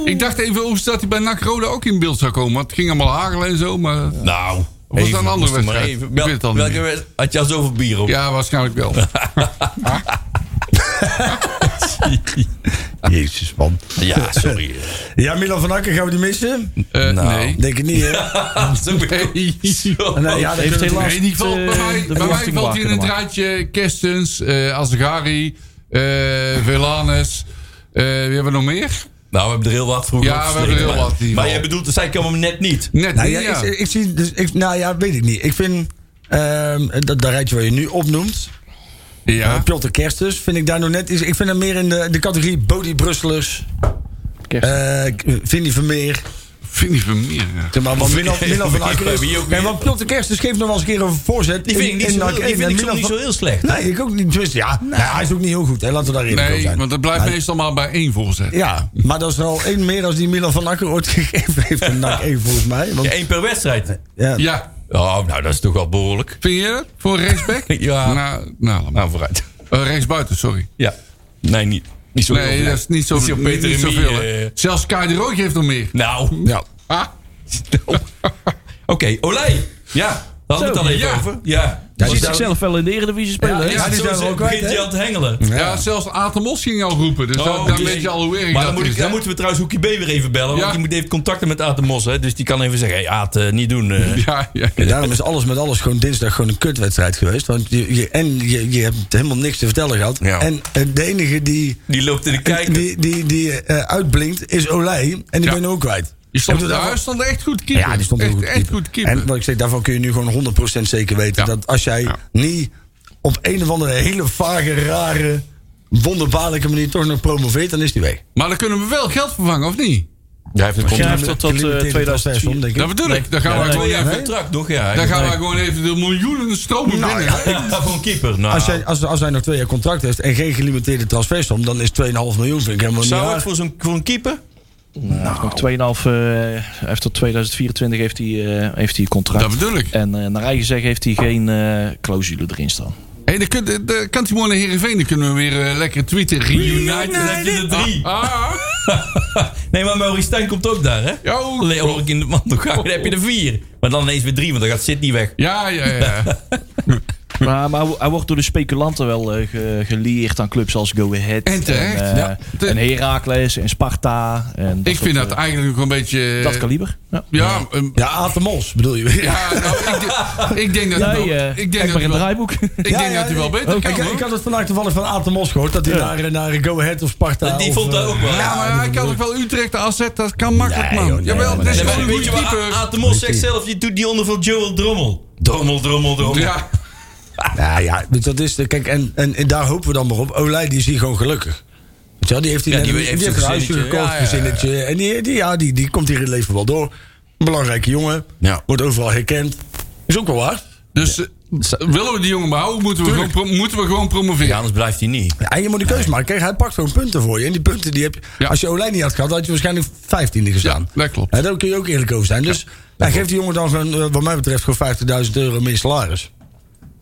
E: Ik dacht even overigens dat hij bij NAC Roda ook in beeld zou komen. Want het ging allemaal hagelen en zo, maar...
D: Nou,
E: was dat een andere
D: moest er maar
E: wedstrijd?
D: even.
E: Ik
D: Wel-
E: weet het al niet
D: welke
E: meer.
D: wedstrijd? Had je al zoveel bier op?
E: Ja, waarschijnlijk wel.
C: Jezus, man.
D: Ja, sorry.
C: Ja, Milan van Akker, gaan we die missen? Oh,
E: Eh,
D: Nou.
E: Nee.
C: Denk ik niet, hè?
D: Zo ben ik ook. Zo.
C: Nee, ja, dat
F: Oh, Heeft
C: kunnen we-
F: helaas
E: Nee, die valt bij
F: eh,
E: mij,
F: de
E: bij mij
F: verwachting
E: valt hij in
F: waken,
E: het
F: maar.
E: draadje Kerstens, eh Azegari, eh Velanes. Eh, wie hebben we nog meer?
D: Nou, we hebben er heel wat vroeger
E: Ja, we
D: opgeschreven,
E: hebben er heel
D: maar-
E: wat, die
D: Maar
E: wel.
D: jij bedoelt, zij kwam hem net niet.
E: Net
C: Nou
E: niet,
C: ja,
E: ja.
C: ik, ik zie, dus, ik, nou ja, weet ik niet. Ik vind, ehm dat, dat rijtje wat je nu opnoemt,
E: Ja.
C: eh, Piotr Kerstes, vind ik daar nog net... iets- Ik vind hem meer in de, de categorie Bodie Brusselers,
F: Kerst.
C: eh Vinnie Vermeer.
E: Vinnie Vermeer. ja.
C: Zeg maar, want Milan, Milan van Aken
D: Heb je
C: is...
D: ook
C: Nee,
D: meer-
C: want Piotr Kerstens geeft nog wel eens een keer een voorzet.
D: Die vind ik
C: in-
D: niet
C: in
D: zo
C: NAC
D: heel- die
C: 1.
D: vind
C: En
D: ik soms
C: Milan
D: niet
C: van-
D: zo heel slecht.
C: Nee, ik ook niet. Tenminste, ja, nou, hij is ook niet heel goed. Hè. Laten we daar eerlijk over
E: Nee,
C: zijn.
E: want dat blijft
D: Nou,
E: meestal maar bij één voorzet.
C: Ja, maar dat is er al één meer als die Milan van Akker ooit gegeven heeft. En NAC 1 volgens mij. Want,
D: Ja, één per wedstrijd.
C: ja,
E: Ja.
D: Oh, nou, dat is toch wel behoorlijk.
E: Vind je dat? Voor een rechtsback?
D: Ja.
E: Nou, nou, laat maar.
D: Nou, vooruit.
E: Eh, rechtsbuiten, sorry.
D: Ja. Nee, niet, niet zo heel
E: Nee,
D: veel.
E: dat is niet, zo,
D: zo
E: niet,
D: Peter
E: niet
D: en Mie,
E: zoveel. hè.
D: eh,
E: Zelfs Kai de Rood heeft er meer.
D: Nou.
C: ja.
E: Ha?
D: Oké, Olij. Ja, daar hadden we het al even
E: Ja.
D: over. Ja.
C: Ja,
F: Ziet
C: die zou-
F: zichzelf wel in de Eredivisie spelen.
C: ja,
F: hè?
C: die zijn we ook kwijt,
D: begint hij
C: hè?
D: al te hengelen.
E: Ja. zelfs Aten Mos ging al roepen. Dus
D: Oh,
E: dan, dan
D: die-
E: weet je al hoe erg
D: Maar
E: dat
D: dan, moet
E: is.
D: ik, dan
E: hè?
D: moeten we trouwens Hoekie B weer even bellen.
E: Ja.
D: Want die moet- die heeft contacten met Aad de Mos. Hè, dus die kan even zeggen, hey, Aad, eh, niet doen. eh.
E: Ja, ja.
C: En daarom is alles met alles gewoon dinsdag gewoon een kutwedstrijd geweest. Want je, je- en je, je hebt helemaal niks te vertellen gehad.
D: Ja.
C: En eh, de enige die,
D: Die loopt in de kijker.
C: die, die, die eh, uitblinkt is Olij. En die
E: Ja.
C: ben je ook kwijt.
E: Je stond,
C: Ik bedoel,
E: nou, hij
C: daarvan-
E: stond echt goed keeper.
C: ja, die stond heel
E: echt,
C: goed.
E: echt
C: keeper.
E: goed keeper.
C: En wat ik zeg, daarvan kun je nu gewoon 100% zeker weten.
E: Ja.
C: Dat als jij
E: Ja.
C: niet op een of andere hele vage, rare, wonderbaarlijke manier toch nog promoveert, dan is die weg.
E: maar dan kunnen we wel geld vervangen, of niet?
D: Hij heeft een
F: Ja, hij
D: contract.
F: heeft tot, tot eh,
C: Limiteerde transfers om,
F: 2004.
C: denk ik.
E: Dat bedoel ik. Dan gaan,
D: Ja,
E: we,
D: twee
E: gewoon
D: jaar
E: even,
D: contract nog, ja.
E: dan gaan we gewoon even de miljoenen stromen binnen.
D: Ja, voor een keeper. Nou,
C: Als, jij, als, als hij nog twee jaar contract heeft en geen gelimiteerde transfersom, dan is 2,5 miljoen vind ik helemaal niet
D: zou
C: raar.
D: het voor, zo'n, voor een keeper?
E: Nou.
F: Nog 2,5, eh, hij heeft tot 2024 heeft hij, eh, heeft hij contract.
E: Dat bedoel ik.
F: En eh, naar eigen zeggen heeft hij geen eh, clausule erin staan.
E: Hé, dan, kun, dan- dan kan Timon naar Heerenveen. Dan kunnen we weer eh, lekker tweeten. Reunited.
D: United heb je er drie.
E: Ah,
D: Nee, maar Maurice Stijn komt ook daar, hè?
E: Ja, oh, ook.
D: Alleen hoor ik in de man nog gaan, dan heb je er vier. Maar dan ineens weer drie, want dan gaat Sidney weg.
E: ja, ja, ja. Hm.
F: Maar, maar hij wordt door de speculanten wel eh, ge- geleerd aan clubs als Go Ahead.
E: En terecht,
F: En, eh,
E: ja. De-
F: en Heracles en Sparta. En
E: Ik vind dat eigenlijk ook een beetje... eh,
F: dat kaliber. Ja.
E: Ja, een-
C: Ja, Atemos bedoel je. Ja,
E: ja nou, ik, denk- ik denk dat hij
F: Jij,
E: wel...
F: eh,
E: Ik denk
F: kijk maar
E: dat hij
F: in het
E: wel,
F: draaiboek.
E: ik denk dat hij wel beter
C: ik,
E: kan,
C: ik,
E: hoor.
C: had het vandaag toevallig van Atemos gehoord, dat hij naar, naar Go Ahead of Sparta...
D: Die
C: of,
D: vond dat
C: eh,
D: ook wel.
E: Ja, maar hij kan ook wel Utrecht aanzetten. Dat kan makkelijk,
C: Nee,
E: man.
C: joh, nee,
E: Jawel,
C: maar
E: dat is
D: Nee,
E: wel
D: maar
E: een
D: weet je
E: goede
D: wat? A-
E: keeper.
D: Aad de Mos zegt zelf, je doet die onder van Joel Drommel. Drommel, drommel, drommel.
E: Ja,
C: Nou ja, weet je, dat is... de- Kijk, en, en, en daar hopen we dan maar op. Olij, die is hier gewoon gelukkig. Weet je wel, die heeft, hier
D: Ja,
C: net
D: die
C: een-
D: heeft
C: heeft een
D: zijn
C: huisje
D: gezinnetje.
C: gekocht,
D: Ja, ja, ja.
C: gezinnetje. En die, die, ja, die, die komt hier in het leven wel door. Belangrijke jongen.
D: Ja.
C: Wordt overal herkend. Is ook wel waar.
E: dus eh, willen we die jongen behouden, moeten we, gewoon,
C: Tuurlijk.
E: pro- moeten we gewoon promoveren.
D: Ja, anders blijft hij niet.
C: Ja, en je moet een keuze maken. Kijk, hij pakt gewoon punten voor je. En die punten die heb je.
E: Ja.
C: Als je Olij niet had gehad, had je waarschijnlijk 15e gestaan.
E: Ja, dat klopt.
C: En daar kun je ook eerlijk over zijn. Dus hij geeft die jongen dan gewoon, eh, wat mij betreft, gewoon 50.000 euro meer salaris.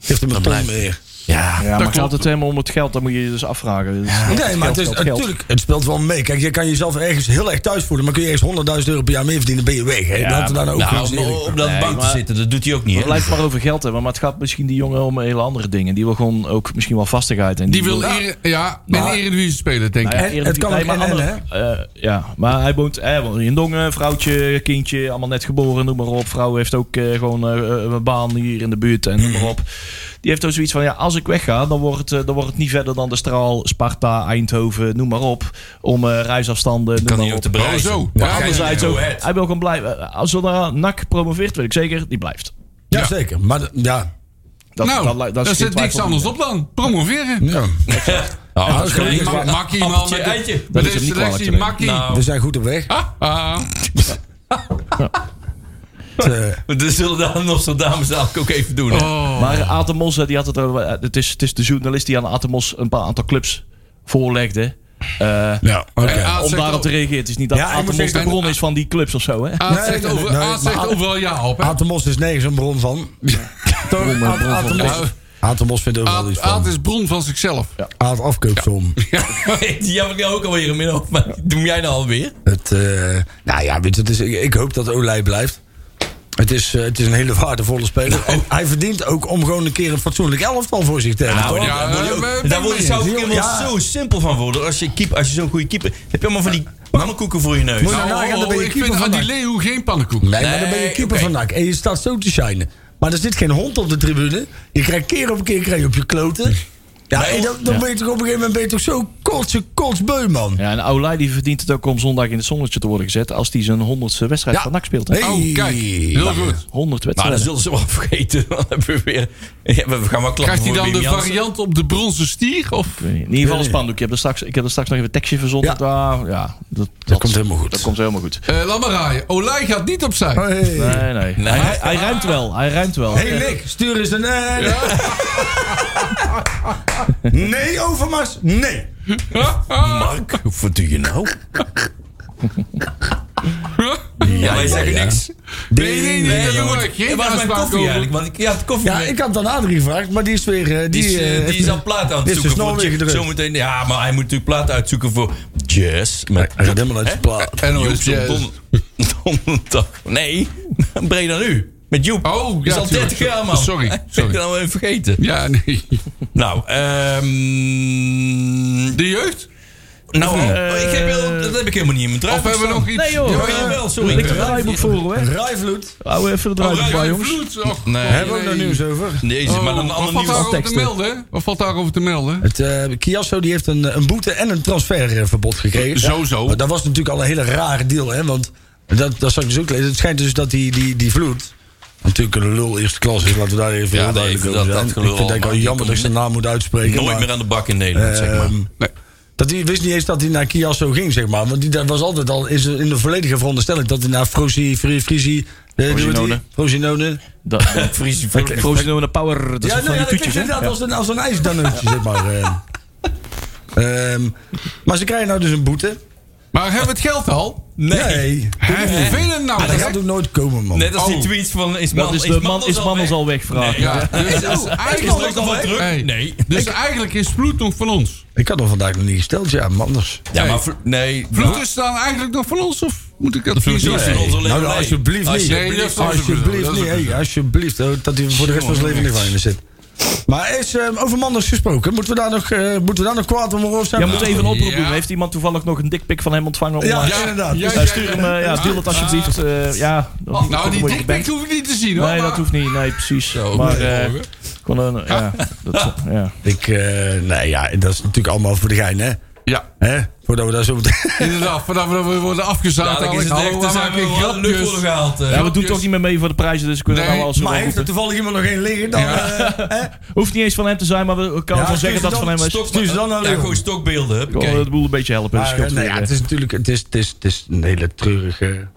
C: Geeft hem een ton meer.
F: Ja, maar het
E: klopt.
F: gaat het helemaal om het geld. Dat moet je je dus afvragen. Dus geld,
C: Nee, maar het, is,
F: geld, geld.
C: natuurlijk, het speelt wel mee. Kijk, je kan jezelf ergens heel erg thuis voelen. Maar kun je ergens 100.000 euro per jaar meer verdienen, ben je weg. Hè? Laten we daar nou ook
D: Nou,
C: wel eens
D: om
C: eerlijk-
D: op dat
F: Nee,
D: bank te
F: maar-
D: zitten, dat doet hij ook niet.
F: Het
D: hè?
F: blijft maar over geld hebben, maar het gaat misschien die jongen om hele andere dingen. Die wil gewoon ook misschien wel vastigheid. En
E: Die wil ere- ja, in de Eredivisie spelen,
F: Nou
E: denk ik.
C: het- het kan ook en- en,
F: hè? Eh, ja, maar hij woont, eh, hij woont in Dongen, vrouwtje, kindje, allemaal net geboren, noem maar op. Vrouw heeft ook eh, gewoon eh, een baan hier in de buurt en noem maar op. Die heeft ook zoiets van, ja, als ik wegga, dan wordt het, eh, dan wordt het niet verder dan de straal, Sparta, Eindhoven, noem maar op. Om eh, reisafstanden, noem
D: kan
F: maar
D: hij ook
F: op.
D: te bereizen.
E: Oh, zo.
D: Maar
E: Ja,
F: Anderzijds
D: Go
F: ook,
D: Ahead.
F: hij wil gewoon blijven. Eh, Als zodra NAC promoveert, weet ik zeker, die blijft.
C: Ja, zeker. Maar d- ja.
F: Dat, dat-
E: nou,
F: dat
E: daar
F: is geen
E: zit niks
F: twijfel
E: anders op dan. Promoveren. Ah,
C: ja.
D: Oh, dat is
C: dat is
D: gelijk.
C: gewoon-
E: Ma- Makkie, man.
D: Appeltje,
E: Met
D: eitje.
E: de-
F: Dat
E: met
F: is
E: deze
F: hem niet kwalijk te
E: selectie,
F: nemen.
E: Makkie.
C: We zijn goed op weg.
E: Ah, ah.
C: Het, eh,
D: Dat zullen de Nostradamus dadelijk ook even doen. hè?
E: Oh.
F: Maar Atemos, die had het, over- eh, het, is, het is de journalist die aan Atemos een paar aantal clubs voorlegde. Eh,
C: ja, oké.
E: En Aad
F: om
E: zegt
F: daarop
E: ook-
F: te reageren. Het is niet dat
C: Ja, ik moet
F: Atemos
C: zeggen-
F: de bron is van die clubs of zo. Hè?
E: Aad
C: Nee,
E: zegt
C: nee,
E: over-
C: nee,
E: Aad
C: maar
E: zegt
C: Aad-
E: overal ja op. hè?
C: Atemos is nergens een bron van. Toch? Aad- Atemos- Atemos vindt ook wel
E: Aad-
C: iets
E: Aad
C: van.
E: is bron van zichzelf.
C: Aad afkoopsom.
D: Die heb ik nou ook alweer in mijn hoofd, maar die doe jij nou alweer?
C: Het, eh, nou ja, weet je, het is, ik, ik hoop dat Olij blijft. Het is, eh, het is een hele waardevolle speler. En hij verdient ook om gewoon een keer een fatsoenlijk elftal voor zich te hebben.
D: Nou,
C: toch?
E: ja,
D: daar word je
E: eh,
D: ook-
E: ben-
D: daar word je
E: ben-
D: zou ik
C: ben-
D: helemaal
C: ja.
D: zo simpel van worden. Als je, keep, als je zo'n goede keeper... Heb je allemaal van die pannenkoeken voor je neus?
C: Moet je
E: Nou,
C: nou nagaan, dan ben je
E: ik
C: keeper
E: vind aan
C: van
E: die
C: NAC.
E: Leeuw geen pannenkoek.
C: Nee, maar dan ben je
D: Nee,
C: keeper
D: oké.
C: van NAC. En je staat zo te shinen. Maar er zit geen hond op de tribune. Je krijgt keer op keer krijg je op je kloten. Ja, en dan, dan ben je toch op een gegeven moment ben je toch zo kotse kotsbeu, man.
F: Ja, en Olij die verdient het ook om zondag in het zonnetje te worden gezet. als hij zijn honderdste wedstrijd
E: Ja.
F: van NAC speelt.
C: Nee.
E: Oh, kijk. Heel goed.
F: 100
D: Maar dan
F: wedstrijden.
D: zullen ze wel vergeten. Dan hebben we weer. Ja, we gaan wel klappen.
E: Krijgt hij
D: voor
E: dan
D: Wim
E: de
D: Jansen.
E: variant op de bronzen stier? Of?
F: Ik weet niet. In ieder geval een spandoek. Je hebt er straks, ik heb er straks nog even een tekstje verzonnen. Ja, ja dat,
C: komt helemaal goed. Oh,
F: Dat komt helemaal goed.
E: Eh laat maar raaien. Olij gaat niet opzij.
C: Hey.
F: Nee, nee. Hij, hij ruimt wel. Hij ruimt wel.
C: hey, Nick, stuur eens een... eh, nee, Overmars, nee.
D: Mark, wat doe je nou? Ja, wij zeggen niks.
E: Nee, nee, nee.
D: jongen,
E: jongen, geen
D: Het was mijn
E: uitspraak
D: koffie
E: over.
D: eigenlijk. Want ik, ja, het koffie.
C: Ja, ik had dan Adrie gevraagd, maar die is weer... eh,
D: die, is, eh,
C: eh,
D: die is al plaat aan
C: die
D: het
C: is de
D: zoeken.
C: snor
D: Voor
C: weer
D: Jack-
C: gedrukt.
D: zometeen, ja, maar hij moet natuurlijk plaat uitzoeken voor jazz. Met,
C: Hij gaat helemaal uit zijn plaat.
E: En hoe
D: Joep
E: is
D: zo'n
E: het?
D: don- donderdag. Nee, breder nu. Met Joep.
E: Oh,
D: Dat
E: ja,
D: is al
E: tuurlijk.
D: 30 jaar, man.
E: Sorry,
D: Ik heb
E: sorry.
D: het nou even vergeten.
E: Ja, nee.
D: Nou, ehm
E: De jeugd?
D: nou eh, ik heb heel, dat heb ik helemaal niet in mijn draad.
E: Of hebben we nog iets?
F: Nee, joh.
E: Ja,
D: Oh, jawel, sorry.
F: Ik heb het draaiboek voor, hoor.
C: Rijvloed.
F: Hou even de draaiboek bij,
E: Oranje
F: jongens.
E: vloed. Och,
D: Nee.
C: Hebben we ook daar nieuws over?
D: Jezus, maar dan een
E: Oh,
D: ander
E: wat valt
D: nieuws.
E: daarover te
F: teksten.
E: melden? Wat valt daarover te melden?
C: Het, eh Chiasso die heeft een, een boete en een transferverbod gekregen.
E: Zo, zo.
C: Maar Dat was natuurlijk al een hele rare deal, hè? Want dat, dat zag ik dus ook lezen. Het schijnt dus dat die, die, die vloed. Natuurlijk een lul eerste klas is, laten we daar even
D: Ja, nee,
C: heel duidelijk
D: dat-
C: over
D: dat
C: zijn.
D: gelul
C: ik vind het
D: allemaal.
C: wel jammer dat ik zijn naam moet uitspreken.
D: Nooit
C: maar,
D: meer aan de bak in Nederland, zeg maar.
C: ehm,
E: Nee.
C: dat hij wist niet eens dat hij naar Chiasso ging, zeg maar. Want die, dat was altijd al is er in de volledige veronderstelling dat hij naar Frosi, Fri- Frisi... eh,
F: Frosinone.
C: hoe heet die? Frosinone.
F: Dat, dat,
D: Friese
F: dat, Frosinone Power, dat is
C: Ja,
F: van
C: nou ja,
F: die
C: dat klinkt
F: toetjes, hè?
C: inderdaad
F: Ja.
C: als een, als een ijsdanneutje, zeg maar. eh. Ehm, maar ze krijgen nou dus een boete.
E: Maar hebben we het geld al?
D: Nee.
E: Hij vervelend nou.
C: Maar dat
E: zeg.
C: gaat ook nooit komen, man.
D: Net als die
E: Oh.
D: tweets van is man,
F: Dat is de man is mannen al wegvraag.
D: Nee.
E: Ja, dus
D: nog
E: eigenlijk,
D: wel druk?
E: Hey,
D: Nee.
E: Dus eigenlijk is Vloed nog van ons.
C: Ik had hem vandaag nog niet gesteld, ja, maar anders.
D: Ja, maar vlo- nee. nou,
E: Vloed is dan eigenlijk nog van ons? Of moet ik dat
D: Vloed
E: niet
D: is
E: zo
D: niet van
E: zeggen?
D: ons alleen.
C: Nou, dan alsjeblieft niet.
E: Nee, dat is
C: Alsjeblieft,
E: dat is
C: niet,
E: ook
C: hey,
E: zo.
C: alsjeblieft. oh, Dat hij voor de rest van zijn leven niet van je zit. Maar is ehm, over Manders gesproken? Moeten we daar nog, eh, moeten we daar nog kwaad om of zijn?
F: Jij moet even een oproep
E: Ja.
F: doen. Heeft iemand toevallig nog een dikpik van hem ontvangen
C: Ja,
F: online?
C: ja, inderdaad.
E: Ja,
F: Ja, stuur hem, eh, ja,
E: Ah,
F: stuur dat alsjeblieft. eh, ja, dat hoeft
E: Nou,
F: ook
E: die
F: voor je bank.
E: dikpik hoef ik niet te zien hoor.
F: Nee, dat
E: maar-
F: hoeft niet. Nee, precies.
E: Zo,
F: maar
E: nee,
F: eh,
E: hoor.
F: gewoon een, ja, dat, ja.
C: Ik, eh, nee, ja, dat is natuurlijk allemaal voor de gein, hè?
E: Ja,
C: hè? Voordat we daar zo meteen...
E: inderdaad. Vanaf dat we worden afgezaagd.
D: Ja, dan is
E: Alex,
D: het echt.
E: hallo,
D: Dan
E: we
D: zijn we
E: maken
D: wel lucht
E: grapjes.
D: worden gehaald. eh.
F: ja, we doen toch niet meer mee voor de prijzen, dus we kunnen
E: Nee,
F: nou wel zo
C: Maar
F: wel
C: heeft er
F: roepen.
C: toevallig iemand nog één liggen? Dan, eh,
F: Hoeft niet eens van hem te zijn, maar we we kunnen
C: Ja,
F: wel
C: stuur
F: zeggen
C: ze
F: dat het van
C: dan-
F: hem is.
D: Stok-
C: Stuur ze dan naar
D: ja,
C: Leeuwen.
D: gewoon stokbeelden.
F: Gewoon
D: huppakee.
F: de boel een beetje helpen.
C: Maar,
F: Dus scheelt
C: eh, nou
F: weer,
C: ja,
F: eh.
C: het is natuurlijk het is, het is, het is een hele treurige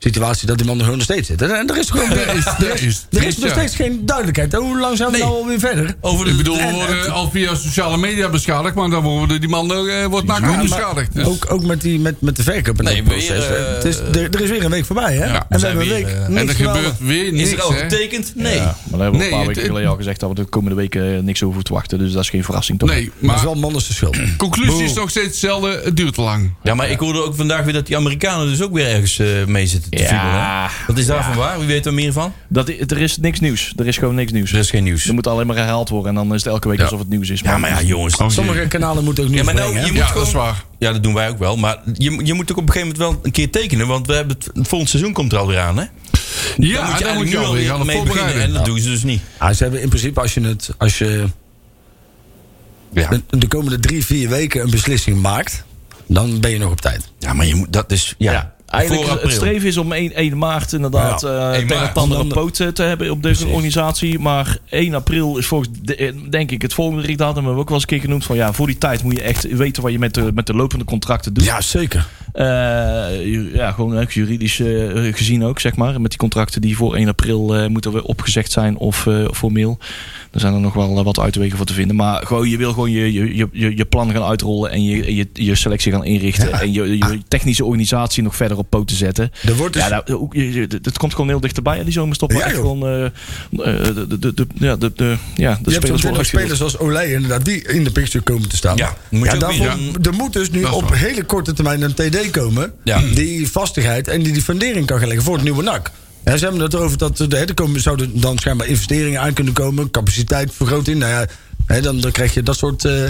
C: situatie dat die man er gewoon nog steeds zit. En en er is gewoon
E: Er is- er is-
C: er is nog
E: ja.
C: steeds geen duidelijkheid. Hoe lang zijn we
D: Nee.
C: nou alweer verder?
D: Over de
E: Ik bedoel, we
D: en-
E: worden al via sociale media beschadigd, maar dan worden die man eh, wordt naar
C: Ja,
E: ook
C: maar
E: beschadigd. Dus.
C: Ook, ook met, die, met, met de verkoop en
D: Nee,
C: dat proces.
D: weer,
C: hè.
D: eh,
C: het is, er, er is weer een week voorbij, hè? en we
D: zijn
C: hebben een
D: weer,
C: week
D: eh,
E: en
C: niks
E: er
C: gedaan.
E: gebeurt weer
D: Is er
E: niks,
D: al
E: hè?
D: getekend? Nee.
F: Ja, maar daar hebben we
E: Nee,
F: een paar weken
E: het-
F: geleden al gezegd dat we de komende weken eh, niks over te wachten. Dus dat is geen verrassing, toch?
E: Nee,
C: Maar het
E: maar
C: is wel Manders de schuld.
E: conclusie is nog steeds hetzelfde. Het duurt te lang.
D: Ja, maar ik hoorde ook vandaag weer dat die Amerikanen dus ook weer ergens eh, mee zitten te
F: Ja.
D: fiebelen, hè? Wat is daarvan waar? Wie weet er meer van?
F: Dat, i- er is niks nieuws. Er is gewoon niks nieuws.
D: Er is geen nieuws.
F: Er moet alleen maar herhaald worden en dan is het elke week alsof het nieuws is.
D: Ja, maar ja, jongens.
E: Oh,
C: Sommige kanalen moeten ook nieuws
D: nou- Ja, maar nou,
C: brengen,
D: je
C: hè?
D: moet
E: Ja,
D: gewoon...
E: dat is waar.
D: Ja, dat doen wij ook wel. Maar je, je moet ook op een gegeven moment wel een keer tekenen. Want we hebben het, het volgende seizoen komt er alweer aan, hè?
E: Ja,
D: moet je
E: dan moet
D: eigenlijk
E: je
D: nu
E: alweer gaan
D: al mee beginnen.
E: voorbereiden.
D: En dat doen ze dus niet.
C: Ah, ze hebben in principe, als je, het, als je de, de komende drie, vier weken een beslissing maakt... dan ben je nog op tijd.
D: Ja, maar je moet, dat is... Ja,
F: Eigenlijk
D: voor
F: is- het
D: april.
F: streven is om 1, 1 maart inderdaad
C: Ja,
F: eh
D: 1
F: tegen
D: maart.
F: het andere
C: Dan-
F: poot eh, te hebben op deze
D: Precies.
F: organisatie. Maar 1 april is volgens de- eh, denk ik het volgende richtdatum. Hebben we ook wel eens een keer genoemd van ja, voor die tijd moet je echt weten wat je met de, met de lopende contracten doet.
C: Ja, zeker.
F: Eh, ju- ja, gewoon ook juridisch eh, gezien ook, zeg maar. Met die contracten die voor 1 april eh, moeten we opgezegd zijn of eh, formeel. Er zijn er nog wel eh, wat uitwegen voor te vinden. Maar gewoon, je wil gewoon je, je, je- je, je plan gaan uitrollen en je, je, je selectie gaan inrichten. En je, je technische organisatie nog verder op poten zetten.
C: Ah. Er wordt dus-
F: ja, nou, ook, je- je- dat- dat komt gewoon heel dichterbij. En die zomerstop maar
C: Ja,
F: echt
C: joh.
F: gewoon... eh, eh, de, de, de, de- ja, de, de, ja, de
C: je
F: spelers
C: hebt natuurlijk
F: worden
C: nog
F: uitgerold.
C: spelers als Olij inderdaad, die in de picture komen te staan.
D: Ja, moet je ook
C: daarvoor-
D: weer-
C: er moet dus nu
E: Dat is
C: op
E: waar.
C: hele korte termijn een TD komen...
D: Ja.
C: die vastigheid en die die fundering kan gaan leggen voor het nieuwe NAC. Ja, ze hebben het erover dat eh, er komen, zouden dan schijnbaar investeringen aan kunnen komen... capaciteitvergroting, nou ja, hè, dan, dan krijg je dat soort... eh,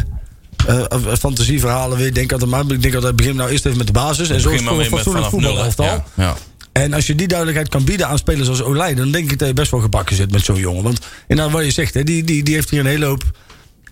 C: eh, eh, fantasieverhalen weer. Denk altijd maar. Ik denk altijd begin nou eerst even met de basis. En zo
D: Begin maar
C: voor een
D: weer met
C: fatsoenlijk
D: vanaf nul, hè?
C: voetbalelftal.
D: Ja, ja.
C: En als je die duidelijkheid kan bieden aan spelers als Olij... dan denk ik dat je best wel gebakken zit met zo'n jongen. Want inderdaad wat je zegt, hè, die, die, die heeft hier een hele hoop